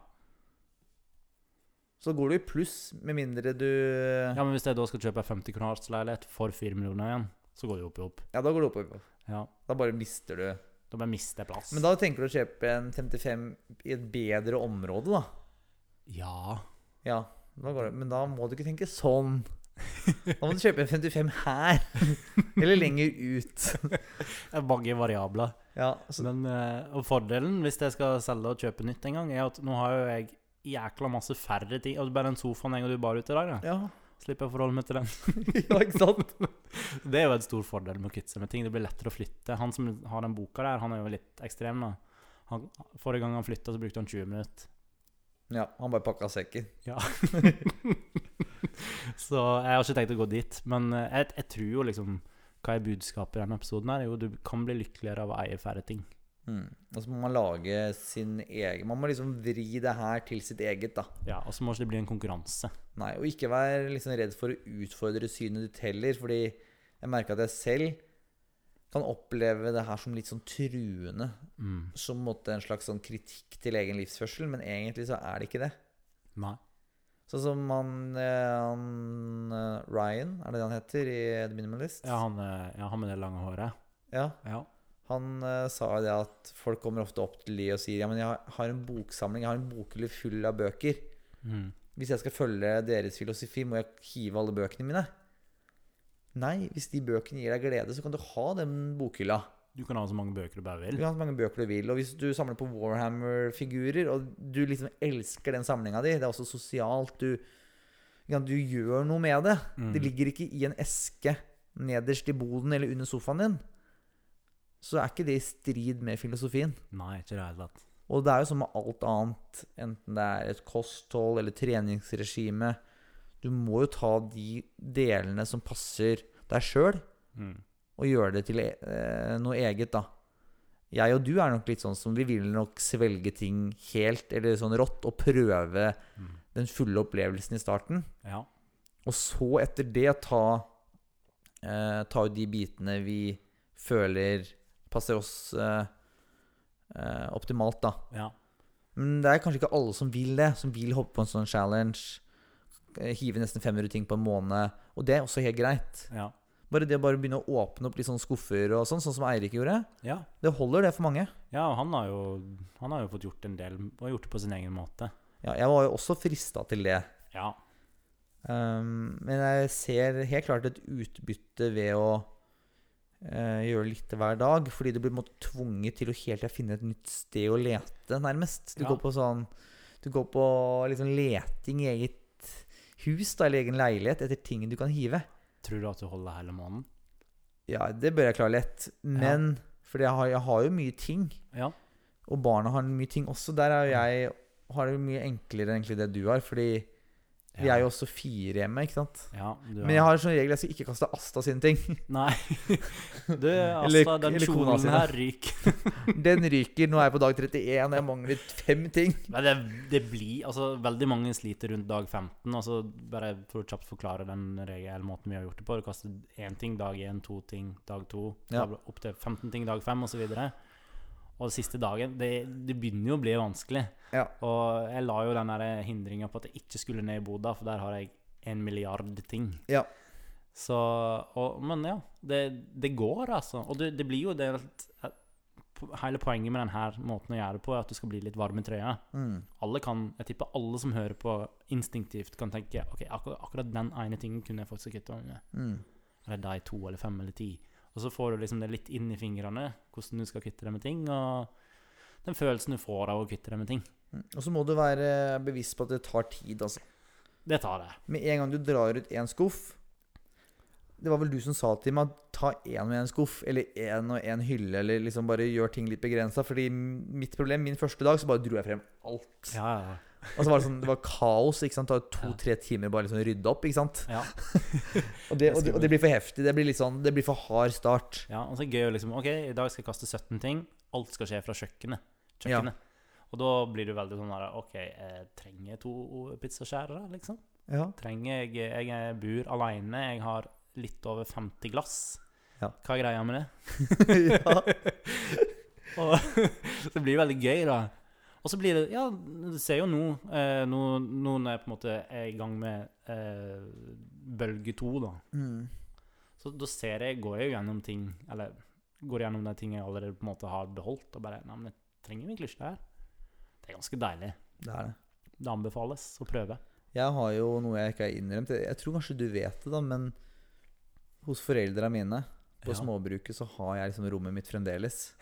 B: Så går du i pluss, med mindre du
A: ja, men hvis jeg da skal kjøpe en 50 kroners leilighet for 4 millioner igjen, så går det jo opp i opp.
B: Ja, da går du oppover.
A: Ja.
B: Da bare mister du
A: Da bare mister jeg plass.
B: Men da tenker du å kjøpe en 55 i et bedre område, da.
A: Ja.
B: Ja, da går det. men da må du ikke tenke sånn. Da må du kjøpe en 55 her, eller lenger ut.
A: Det er mange variabler.
B: Ja, så,
A: Men, eh, og fordelen hvis jeg skal selge og kjøpe nytt en gang, er at nå har jo jeg jækla masse færre ting. Altså bare den sofaen jeg og du bar ut i dag, da.
B: ja.
A: Slipper jeg å forholde meg til den.
B: ja, ikke sant?
A: Det er jo en stor fordel med å kvitte seg med ting. Det blir lettere å flytte. Han som har den boka der, han er jo litt ekstrem, da. Han, forrige gang han flytta, så brukte han 20 minutter.
B: Ja, han bare pakka sekken.
A: Ja. så jeg har ikke tenkt å gå dit. Men eh, jeg, jeg tror jo liksom Hva er budskapet i denne episoden? her? Jo, du kan bli lykkeligere av å eie færre ting.
B: Mm. Og så må man lage sin egen Man må liksom vri det her til sitt eget, da.
A: Ja, Og så må ikke det bli en konkurranse.
B: Nei, og ikke være liksom redd for å utfordre synet ditt heller, fordi jeg merker at jeg selv kan oppleve det her som litt sånn truende.
A: Mm.
B: Som på en måte en slags sånn kritikk til egen livsførsel, men egentlig så er det ikke det.
A: Nei.
B: Sånn som han, eh, han eh, Ryan, er det det han heter i The Minimalist?
A: Ja, han, eh, ja, han med det lange håret.
B: Ja,
A: Ja.
B: han eh, sa jo det at folk kommer ofte opp til de og sier Ja, men jeg har- har en boksamling, jeg har en bokhylle full av bøker.
A: Mm.
B: Hvis jeg skal følge deres filosofi, må jeg hive alle bøkene mine? Nei, hvis de bøkene gir deg glede, så kan du ha den bokhylla.
A: Du kan ha så mange bøker du bare
B: Du
A: vil.
B: kan ha så mange bøker du vil. Og hvis du samler på Warhammer-figurer, og du liksom elsker den samlinga di, det er også sosialt, du, ja, du gjør noe med det.
A: Mm.
B: Det ligger ikke i en eske nederst i boden eller under sofaen din. Så er ikke det i strid med filosofien.
A: Nei, ikke i det hele tatt.
B: Og det er jo som med alt annet, enten det er et kosthold eller treningsregime. Du må jo ta de delene som passer deg sjøl,
A: Mm.
B: og gjøre det til eh, noe eget, da. Jeg og du er nok litt sånn som vi vil nok svelge ting helt eller sånn rått og prøve
A: Mm.
B: den fulle opplevelsen i starten.
A: Ja.
B: Og så etter det ta, eh, ta ut de bitene vi føler passer oss eh, eh, optimalt, da.
A: ja.
B: Men det er kanskje ikke alle som vil det, som vil hoppe på en sånn challenge. eh, hive nesten 500 ting på en måned. Og det er også helt greit.
A: Ja.
B: Bare det å bare begynne å åpne opp litt sånn skuffer og sånn, sånn som Eirik gjorde,
A: Ja.
B: det holder det for mange.
A: ja, og han har jo Han har jo fått gjort en del, og gjort det på sin egen måte.
B: Ja, jeg var jo også frista til det.
A: Ja.
B: Um, men jeg ser helt klart et utbytte ved å eh, gjøre litt hver dag, fordi du blir på en måte tvunget til å hele tida finne et nytt sted å lete, nærmest. Du
A: Ja.
B: går på sånn Du går på liksom leting i eget hus, da, eller egen leilighet, etter ting du kan hive.
A: Tror du at du holder hele måneden?
B: Ja, det bør jeg klare lett, men For jeg har, jeg har jo mye ting,
A: Ja.
B: og barna har mye ting også. Der er jo jeg har det jo mye enklere enn egentlig det du har, fordi vi er jo også fire hjemme, ikke sant?
A: ja, du
B: Men jeg har som regel jeg skal ikke kaste Asta sine ting.
A: Nei. Du,
B: Eller-
A: Asta, den
B: eller kona
A: kjolen
B: sine.
A: her ryker.
B: Den ryker. Nå er jeg på dag 31, og jeg mangler fem ting.
A: Men det, det blir Altså, veldig mange sliter rundt dag 15. Altså, bare for å kjapt forklare den regelen, måten vi har gjort det på. Du kaster én ting dag én, to ting dag to,
B: Ja.
A: bla, bla, opp til 15 ting dag fem, osv. Og den siste dagen det, det begynner jo å bli vanskelig.
B: Ja.
A: Og jeg la jo den der hindringa på at jeg ikke skulle ned i Bodø, for der har jeg en milliard ting.
B: Ja.
A: Så, og, men ja, det, det går, altså. Og det, det blir jo det at- Hele poenget med denne måten å gjøre det på, er at du skal bli litt varm i trøya.
B: Mm.
A: Alle kan, Jeg tipper alle som hører på, instinktivt kan tenke ok, akkurat, akkurat den ene tingen kunne jeg faktisk kutta med.
B: Mm.
A: Eller de to, eller fem, eller ti. Og så får du liksom det litt inn i fingrene, hvordan du skal kvitte deg med ting, og den følelsen du får av å kvitte deg med ting.
B: Mm. Og så må du være bevisst på at det tar tid, altså.
A: Det tar det.
B: Med en gang du drar ut én skuff Det var vel du som sa til meg at ta én og én skuff, eller én og én hylle, eller liksom bare gjør ting litt begrensa. Fordi mitt problem, min første dag, så bare dro jeg frem alt.
A: Ja, ja,
B: Og så var det sånn, det var kaos. ikke sant? Det tar
A: Ja.
B: to-tre timer bare liksom å rydde opp. ikke sant?
A: ja.
B: Og det, og, det, og det blir for heftig. Det blir litt sånn, det blir for hard start.
A: Ja, og så er det gøy å liksom Ok, i dag skal jeg kaste 17 ting. Alt skal skje fra kjøkkenet. kjøkkenet. Og da blir du veldig sånn der OK, jeg trenger jeg to pizzaskjærere, liksom?
B: Ja.
A: Trenger jeg Jeg er- bor alene, jeg har litt over 50 glass.
B: Ja.
A: Hva er greia med det?
B: ja.
A: Og så det blir veldig gøy, da. Og så blir det Ja, du ser jo nå, eh, nå, nå når jeg på en måte er i gang med eh, bølge to, da.
B: Mm.
A: Så da ser jeg, går jeg jo gjennom ting, eller går gjennom de ting jeg allerede på en måte har beholdt, og bare, nei, men jeg trenger egentlig ikke det her. Det er ganske deilig.
B: Det er det.
A: Det anbefales å prøve.
B: Jeg har jo noe jeg ikke har innrømt. Jeg- Jeg tror kanskje du vet det, da, men hos foreldra mine på
A: Ja.
B: småbruket så har jeg liksom rommet mitt fremdeles.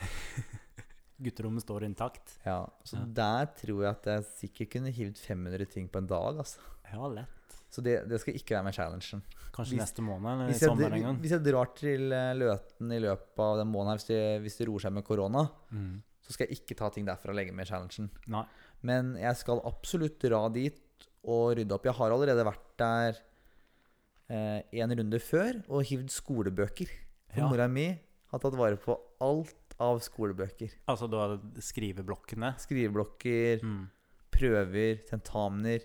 A: Gutterommet står intakt.
B: Ja, Så
A: Ja.
B: der tror jeg at jeg sikkert kunne hivd 500 ting på en dag. altså.
A: Ja, lett.
B: Så det, det skal ikke være med challengen.
A: Kanskje
B: Hvis-
A: neste måned, eller i
B: Hvis jeg,
A: sommer en gang.
B: hvis jeg drar til eh, Løten i løpet av den måneden her, hvis det, hvis det roer seg med korona,
A: Mm.
B: så skal jeg ikke ta ting derfra og legge med i challengen.
A: Nei.
B: Men jeg skal absolutt dra dit og rydde opp. Jeg har allerede vært der én runde før og hivd skolebøker. For
A: Ja,
B: Mora mi har tatt vare på alt av skolebøker.
A: altså da skriveblokkene.
B: Skriveblokker,
A: Mm.
B: prøver, tentamener.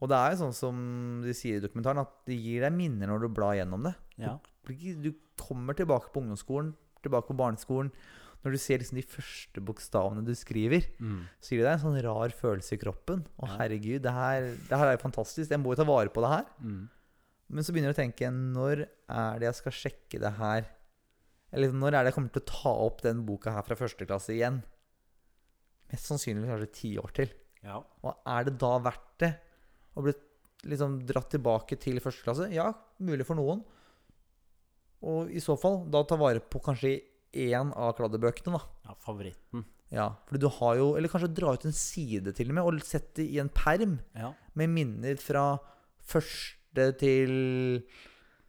B: Og det er jo sånn som de sier i dokumentaren, at det gir deg minner når du blar gjennom det.
A: Ja.
B: Du blir ikke- Du kommer tilbake på ungdomsskolen, tilbake på barneskolen. Når du ser liksom de første bokstavene du skriver,
A: Mm.
B: så gir det deg en sånn rar følelse i kroppen. Å,
A: Ja.
B: herregud, det her, det her er jo fantastisk. Jeg må jo ta vare på det her.
A: Mm.
B: Men så begynner jeg å tenke, når er det jeg skal sjekke det her? Eller når er det jeg kommer til å ta opp den boka her fra første klasse igjen? Mest sannsynlig kanskje ti år til.
A: Ja.
B: Og er det da verdt det? Å bli liksom dratt tilbake til første klasse? Ja, mulig for noen. Og i så fall, da ta vare på kanskje én av kladdebøkene, da.
A: ja, favoritten.
B: Ja, for du har jo Eller kanskje dra ut en side til og med, og sette i en perm
A: Ja.
B: med minner fra første til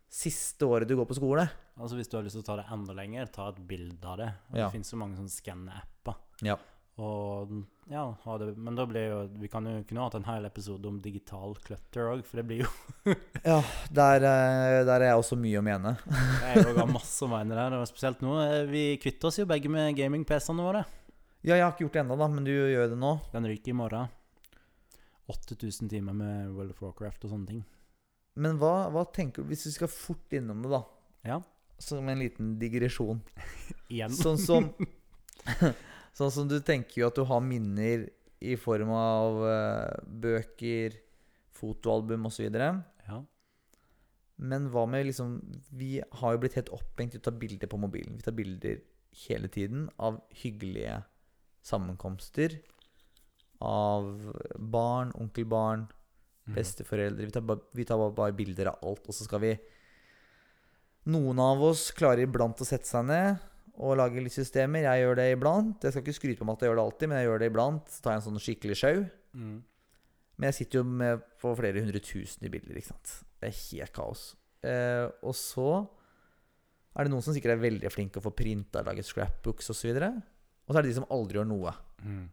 B: siste året du går på skole.
A: Altså Hvis du har lyst til å ta det enda lenger, ta et bilde av det. Og
B: Ja.
A: Det finnes jo mange sånne skanne-apper.
B: Ja.
A: Og ja, ha det. Men da blir jo Vi kan jo kunne hatt en hel episode om digital clutter òg, for det blir jo
B: Ja, der, eh, der er jeg også mye å mene.
A: Jeg òg har masse å mene der, og spesielt nå. eh, Vi kvitter oss jo begge med gaming-PC-ene våre.
B: Ja, jeg har ikke gjort det ennå, da, men du gjør det nå.
A: Den ryker i morgen. 8000 timer med World of Warcraft og sånne ting.
B: Men hva, hva tenker du, hvis vi skal fort innom det, da?
A: Ja.
B: Som en liten digresjon.
A: Igjen.
B: Sånn som Sånn som du tenker jo at du har minner i form av eh, bøker, fotoalbum osv.
A: Ja.
B: Men hva med liksom Vi har jo blitt helt opphengt i å ta bilder på mobilen. Vi tar bilder hele tiden av hyggelige sammenkomster. Av barn, onkelbarn,
A: Mhm.
B: besteforeldre. Vi tar, ba- vi tar ba- bare bilder av alt, og så skal vi Noen av oss klarer iblant å sette seg ned og lage litt systemer. Jeg gjør det iblant. Jeg skal ikke skryte på meg at jeg gjør det alltid, men jeg gjør det iblant. Så tar jeg en sånn skikkelig sjau.
A: Mm.
B: Men jeg sitter jo med på flere hundre tusen i bilder, ikke sant. Det er helt kaos. Eh, og så er det noen som sikkert er veldig flinke å få printa, lage scrapbooks osv. Og, og så er det de som aldri gjør noe.
A: Mm.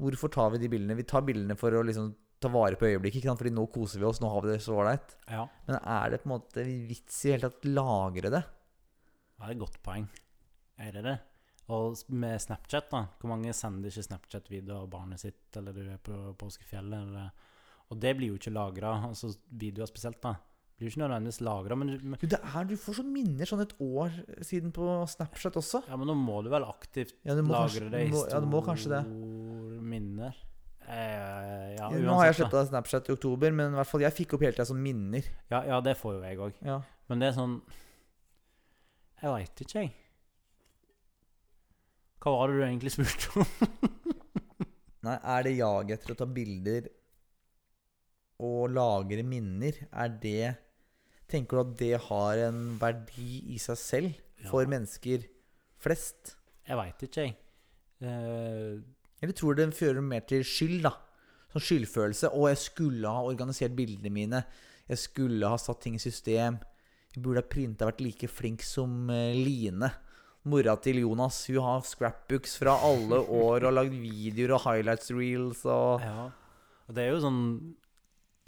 B: Hvorfor tar vi de bildene? Vi tar bildene for å liksom ta vare på øyeblikket, ikke sant? fordi nå koser vi oss, nå har vi det så ålreit.
A: Ja,
B: Men er det på en måte vits i hele tatt lagre det?
A: det er et godt poeng. Er det det? Og s- med Snapchat, da. Hvor mange sender ikke Snapchat-videoer av barnet sitt, eller du er på påskefjellet, eller Og det blir jo ikke lagra, altså videoer spesielt, da. Blir jo ikke nødvendigvis lagra, men, du- men
B: Jo, det er, du får sånne minner sånn et år siden på Snapchat også.
A: Ja, men nå må du vel aktivt
B: Ja, du må
A: lagre
B: kanskje-
A: det i
B: må- ja, du må kanskje det.
A: store minner? Eh, ja,
B: Nå har jeg
A: uansett, da.
B: sletta Snapchat i oktober, men i hvert fall jeg fikk opp hele tida sånne minner.
A: Ja, ja, det får jo jeg òg.
B: Ja.
A: Men det er sånn Jeg veit ikke, jeg. Hva var det du egentlig spurte om?
B: Nei, er det jaget etter å ta bilder og lagre minner, er det Tenker du at det har en verdi i seg selv for
A: Ja.
B: mennesker flest?
A: Jeg veit ikke, jeg. Eh,
B: Eller tror du det fører mer til skyld, da? Sånn skyldfølelse. 'Å, jeg skulle ha organisert bildene mine. Jeg skulle ha satt ting i system. Jeg burde ha printa vært like flink som eh, Line.' Mora til Jonas, hun har scrapbooks fra alle år og lagd videoer og highlights reels og
A: ja. Og det er jo sånn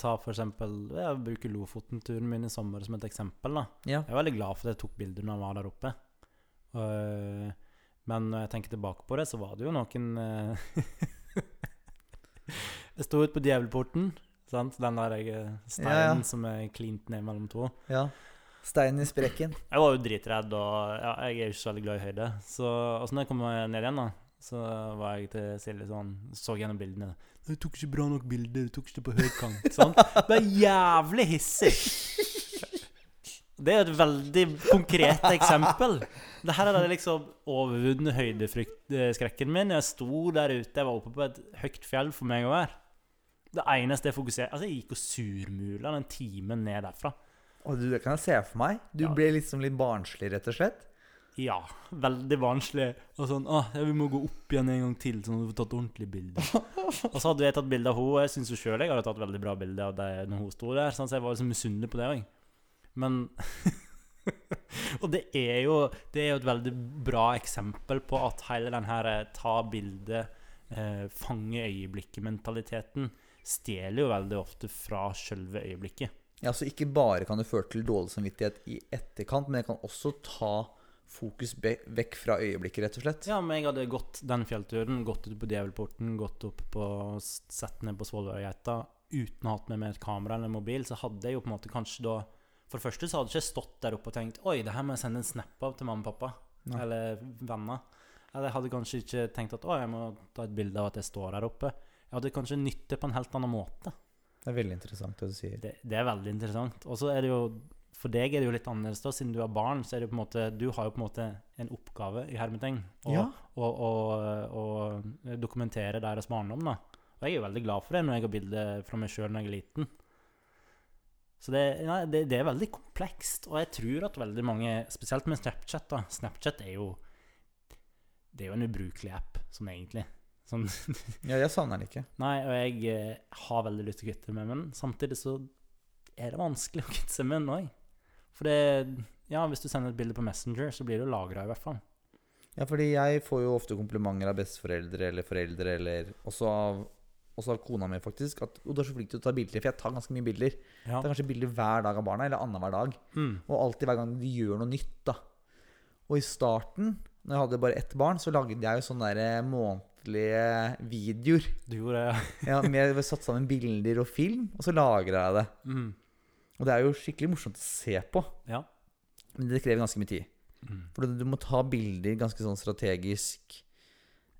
A: Ta for eksempel Jeg bruker Lofoten-turen min i sommer som et eksempel, da.
B: Ja.
A: Jeg er veldig glad for at jeg tok bilder når jeg var der oppe. Eh, men når jeg tenker tilbake på det, så var det jo noen eh, Jeg sto ute på Djevelporten, sant? den der jeg, steinen
B: Ja, ja.
A: som er klint ned mellom to.
B: Ja. Steinen i sprekken.
A: Jeg var jo dritredd, og ja, jeg er jo ikke så veldig glad i høyde. Så og så når jeg kom ned igjen, da, så var jeg til Silje sånn Så gjennom bildene. Du tok ikke bra nok bilder, du tok ikke det på høykant. Sånn. Det er jævlig hissig. Det er et veldig konkret eksempel. Det her er liksom overvunnet høydeskrekken min. Jeg sto der ute, jeg var oppe på et høyt fjell for meg å være. Det eneste jeg fokuserte Altså, jeg gikk og surmula den timen ned derfra.
B: Og du, det kan jeg se for meg. Du
A: Ja.
B: ble liksom litt barnslig, rett og slett.
A: Ja, veldig barnslig. Og sånn ah, ja, 'Vi må gå opp igjen en gang til, sånn at du får tatt ordentlig bilde'. og så hadde jeg tatt bilde av henne, og jeg syns jo sjøl jeg hadde tatt veldig bra bilde av det når hun sto der, sånn, så jeg var liksom misunnelig på det òg. Men Og det er, jo, det er jo et veldig bra eksempel på at hele den her eh, ta bilde, eh, fange øyeblikket-mentaliteten stjeler jo veldig ofte fra sjølve øyeblikket.
B: Ja, så ikke bare kan det føre til dårlig samvittighet i etterkant, men det kan også ta fokus be- vekk fra øyeblikket, rett og slett.
A: Ja, men jeg hadde gått den fjellturen, gått ut på Djevelporten, gått opp på Sett ned på Svolværgeita uten å ha hatt med meg et kamera eller en mobil, så hadde jeg jo på en måte kanskje da For det første så hadde jeg ikke stått der oppe og tenkt Oi, det her må jeg sende en snap av til mamma og pappa.
B: Nei.
A: Eller venner. Eller jeg hadde kanskje ikke tenkt at Å, jeg må ta et bilde av at jeg står her oppe. Jeg hadde kanskje nytte på en helt annen måte.
B: Det er veldig interessant det du sier.
A: Det, det er veldig interessant. Og så er det jo For deg er det jo litt annerledes, da. Siden du er barn, så er det jo på en måte Du har jo på en måte en oppgave i hermetegn. å-
B: Ja.
A: Å å- å dokumentere deres barndom, da. Og jeg er jo veldig glad for det når jeg har bilder fra meg sjøl når jeg er liten. Så det, nei, det, det er veldig komplekst, og jeg tror at veldig mange Spesielt med Snapchat, da. Snapchat er jo Det er jo en ubrukelig app, sånn egentlig. Sånn
B: Ja, jeg savner den ikke.
A: Nei, og jeg eh, har veldig lyst til å kvitte meg med den. Samtidig så er det vanskelig å kvitte seg med den òg. For det Ja, hvis du sender et bilde på Messenger, så blir det jo lagra, i hvert fall.
B: Ja, fordi jeg får jo ofte komplimenter av besteforeldre eller foreldre, eller også av, også av kona mi, faktisk, at «Å, du er så flink til å ta bilder, for jeg tar ganske mye bilder.
A: Ja.
B: Det er kanskje bilder hver dag av barna, eller annenhver dag.
A: Mm.
B: Og alltid hver gang de gjør noe nytt, da. Og i starten, når jeg hadde bare ett barn, så lagde jeg jo sånne der eh, månedlige videoer.
A: Du gjorde
B: Ja, med satt sammen bilder og film, og så lagra jeg det.
A: mm.
B: Og det er jo skikkelig morsomt å se på,
A: Ja.
B: men det krever ganske mye tid.
A: Mm.
B: For du du må ta bilder ganske sånn strategisk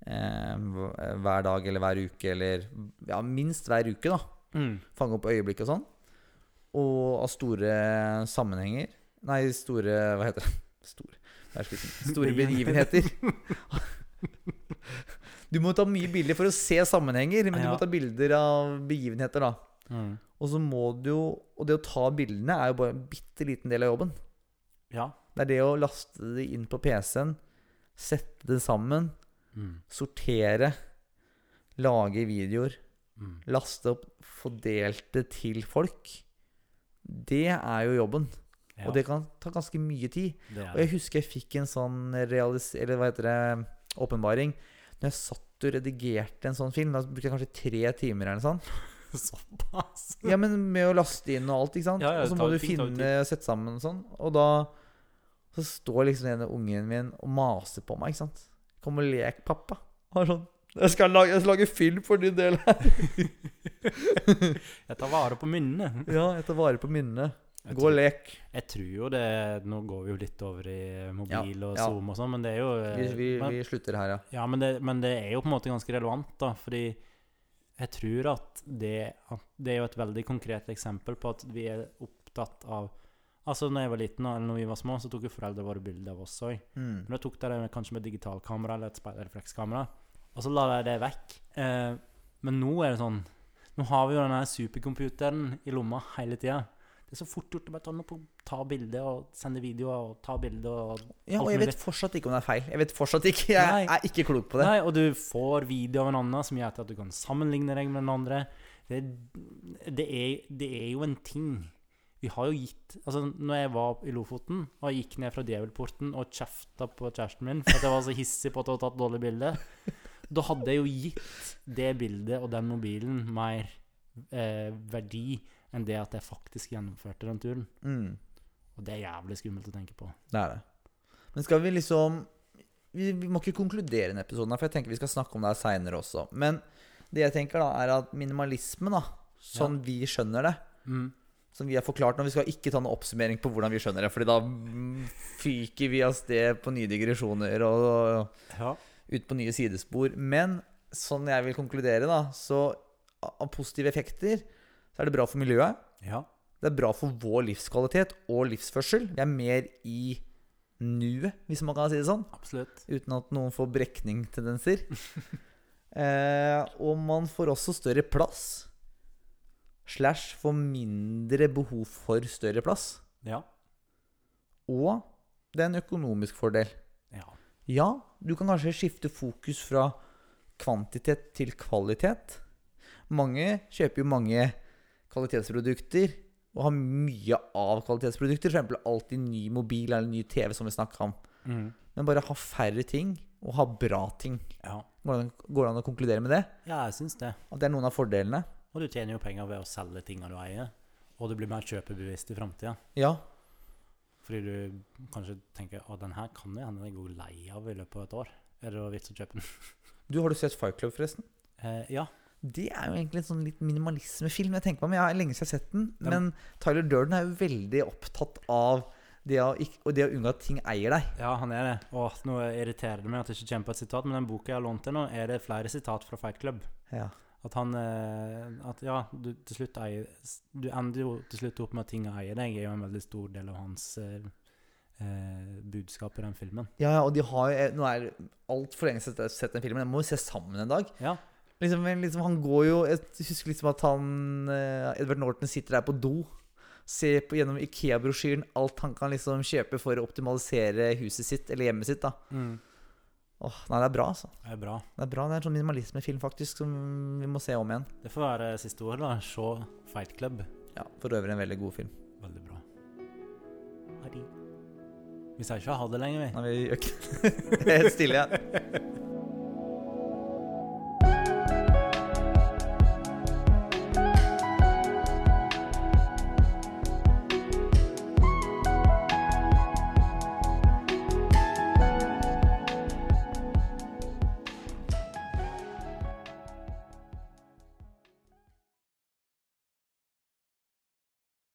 B: eh, hver dag eller hver uke, eller ja, minst hver uke, da.
A: Mm.
B: fange opp øyeblikk og sånn. Og av store sammenhenger Nei, store Hva heter det? Store, det er slutten. store begivenheter. Du må ta mye bilder for å se sammenhenger, men du
A: Ja.
B: må ta bilder av begivenheter, da.
A: Mm.
B: Og så må du jo Og det å ta bildene er jo bare en bitte liten del av jobben.
A: Ja.
B: Det er det å laste det inn på PC-en, sette det sammen,
A: Mm.
B: sortere, lage videoer,
A: Mm.
B: laste opp, fordelt det til folk. Det er jo jobben,
A: Ja,
B: og det kan ta ganske mye tid.
A: det er
B: Og jeg husker jeg fikk en sånn realis... Eller hva heter det? Åpenbaring. Når jeg satt og redigerte en sånn film, da brukte jeg kanskje tre timer eller noe sånt.
A: det. Såpass.
B: Ja, men med å laste inn og alt, ikke sant?
A: Ja, ja,
B: og så
A: det
B: må
A: tar jo
B: du
A: tid, det tar jo
B: finne sette sammen og sånn. Og da så står liksom den ene ungen min og maser på meg, ikke sant. Kom og lek, pappa. Og er sånn jeg skal, lage, 'Jeg skal lage film for din del her'.
A: Jeg tar vare på minnene.
B: Ja, jeg tar vare på minnene.
A: Jeg
B: Gå og
A: tror-
B: lek.
A: Jeg tror jo det Nå går vi jo litt over i mobil og
B: ja.
A: Zoom og sånn, men det er jo eh,
B: Vi, vi,
A: men,
B: vi slutter her, ja.
A: Ja, men det, men det er jo på en måte ganske relevant, da, fordi jeg tror at det, at det er jo et veldig konkret eksempel på at vi er opptatt av Altså, når jeg var liten, eller når vi var små, så tok jo foreldrene våre bilder av oss òg.
B: Mm.
A: Men da tok de det med- kanskje med digitalkamera eller et speilreflekskamera, og så la de det vekk. Eh, men nå er det sånn Nå har vi jo den her supercomputeren i lomma hele tida. Det er så fort gjort å bare ta, den opp og ta bilde og sende videoer og ta bilde og
B: Ja, og
A: alt
B: jeg
A: mulig.
B: vet fortsatt ikke om det er feil. Jeg vet fortsatt ikke. Jeg
A: Nei.
B: er ikke klok på det.
A: Nei, og du får video av en annen som gjør at du kan sammenligne deg med den andre. Det, det, er, det er jo en ting. Vi har jo gitt Altså, når jeg var i Lofoten og gikk ned fra Djevelporten og kjefta på kjæresten min for at jeg var så hissig på at jeg hadde tatt dårlig bilde, da hadde jeg jo gitt det bildet og den mobilen mer eh, verdi enn det at jeg faktisk gjennomførte den turen.
B: Mm.
A: Og det er jævlig skummelt å tenke på.
B: Det er det. Men skal vi liksom Vi, vi må ikke konkludere denne episoden, her, for jeg tenker vi skal snakke om det her seinere også. Men det jeg tenker da, er at minimalisme, da, sånn vi skjønner det
A: Mm.
B: som vi har forklart nå. Vi skal ikke ta noen oppsummering på hvordan vi skjønner det, Fordi da mm, fyker vi av sted på nye digresjoner og, og
A: Ja.
B: ut på nye sidespor. Men sånn jeg vil konkludere, da, så av positive effekter så er det bra for miljøet.
A: ja.
B: Det er bra for vår livskvalitet og livsførsel. Vi er mer i nuet, hvis man kan si det sånn.
A: Absolutt.
B: Uten at noen får brekningtendenser. eh, og man får også større plass. Slash får mindre behov for større plass.
A: Ja.
B: Og det er en økonomisk fordel.
A: Ja.
B: Ja, du kan kanskje skifte fokus fra kvantitet til kvalitet. Mange kjøper jo mange kvalitetsprodukter og har mye av kvalitetsprodukter. For eksempel alltid ny mobil eller ny TV, som vi snakka om.
A: Mm.
B: Men bare ha færre ting, og ha bra ting.
A: ja.
B: Går det, an, går det an å konkludere med det?
A: Ja, jeg syns det.
B: At det er noen av fordelene?
A: Og du tjener jo penger ved å selge tingene du eier. Og du blir mer kjøpebevisst i framtida.
B: Ja.
A: Fordi du kanskje tenker at den her kan det hende jeg går lei av i løpet av et år. Er det da vits å kjøpe den?
B: Du, Har du sett Fight Club, forresten?
A: Eh, ja.
B: Det er jo egentlig en sånn litt minimalismefilm. Jeg tenker meg, om. jeg har lenge siden jeg har sett den,
A: Ja.
B: men Tyler Durden er jo veldig opptatt av det å, ikk- og det å unngå at ting eier deg.
A: ja, han er det. Og nå irriterer det meg at jeg ikke kommer på et sitat, men den boka jeg har lånt til nå, er det flere sitat fra Fight Club.
B: Ja.
A: At han eh, At ja, du til slutt eier Du ender jo til slutt opp med at ting eier deg, er jo en veldig stor del av hans eh, eh, budskap i den filmen.
B: ja, ja, og de har jo eh, Nå er det altfor lenge siden jeg har sett den filmen. Jeg må jo se sammen en dag.
A: Ja.
B: Liksom, men liksom, han går jo Jeg husker liksom at han eh, Edvard Norton sitter der på do. Ser på, gjennom Ikea-brosjyren alt han kan liksom kjøpe for å optimalisere huset sitt, eller hjemmet sitt. da
A: Mm.
B: Åh, Nei, det er bra, altså.
A: Det er bra.
B: Det er bra, det er en sånn minimalismefilm faktisk som vi må se om igjen.
A: Det får være siste ord, da. Se Fight Club.
B: Ja, For øvrig en veldig god film.
A: Veldig bra. Ha det. Vi sier ikke ha det lenger, vi.
B: Nei, vi gjør ikke det. Helt stille, ja.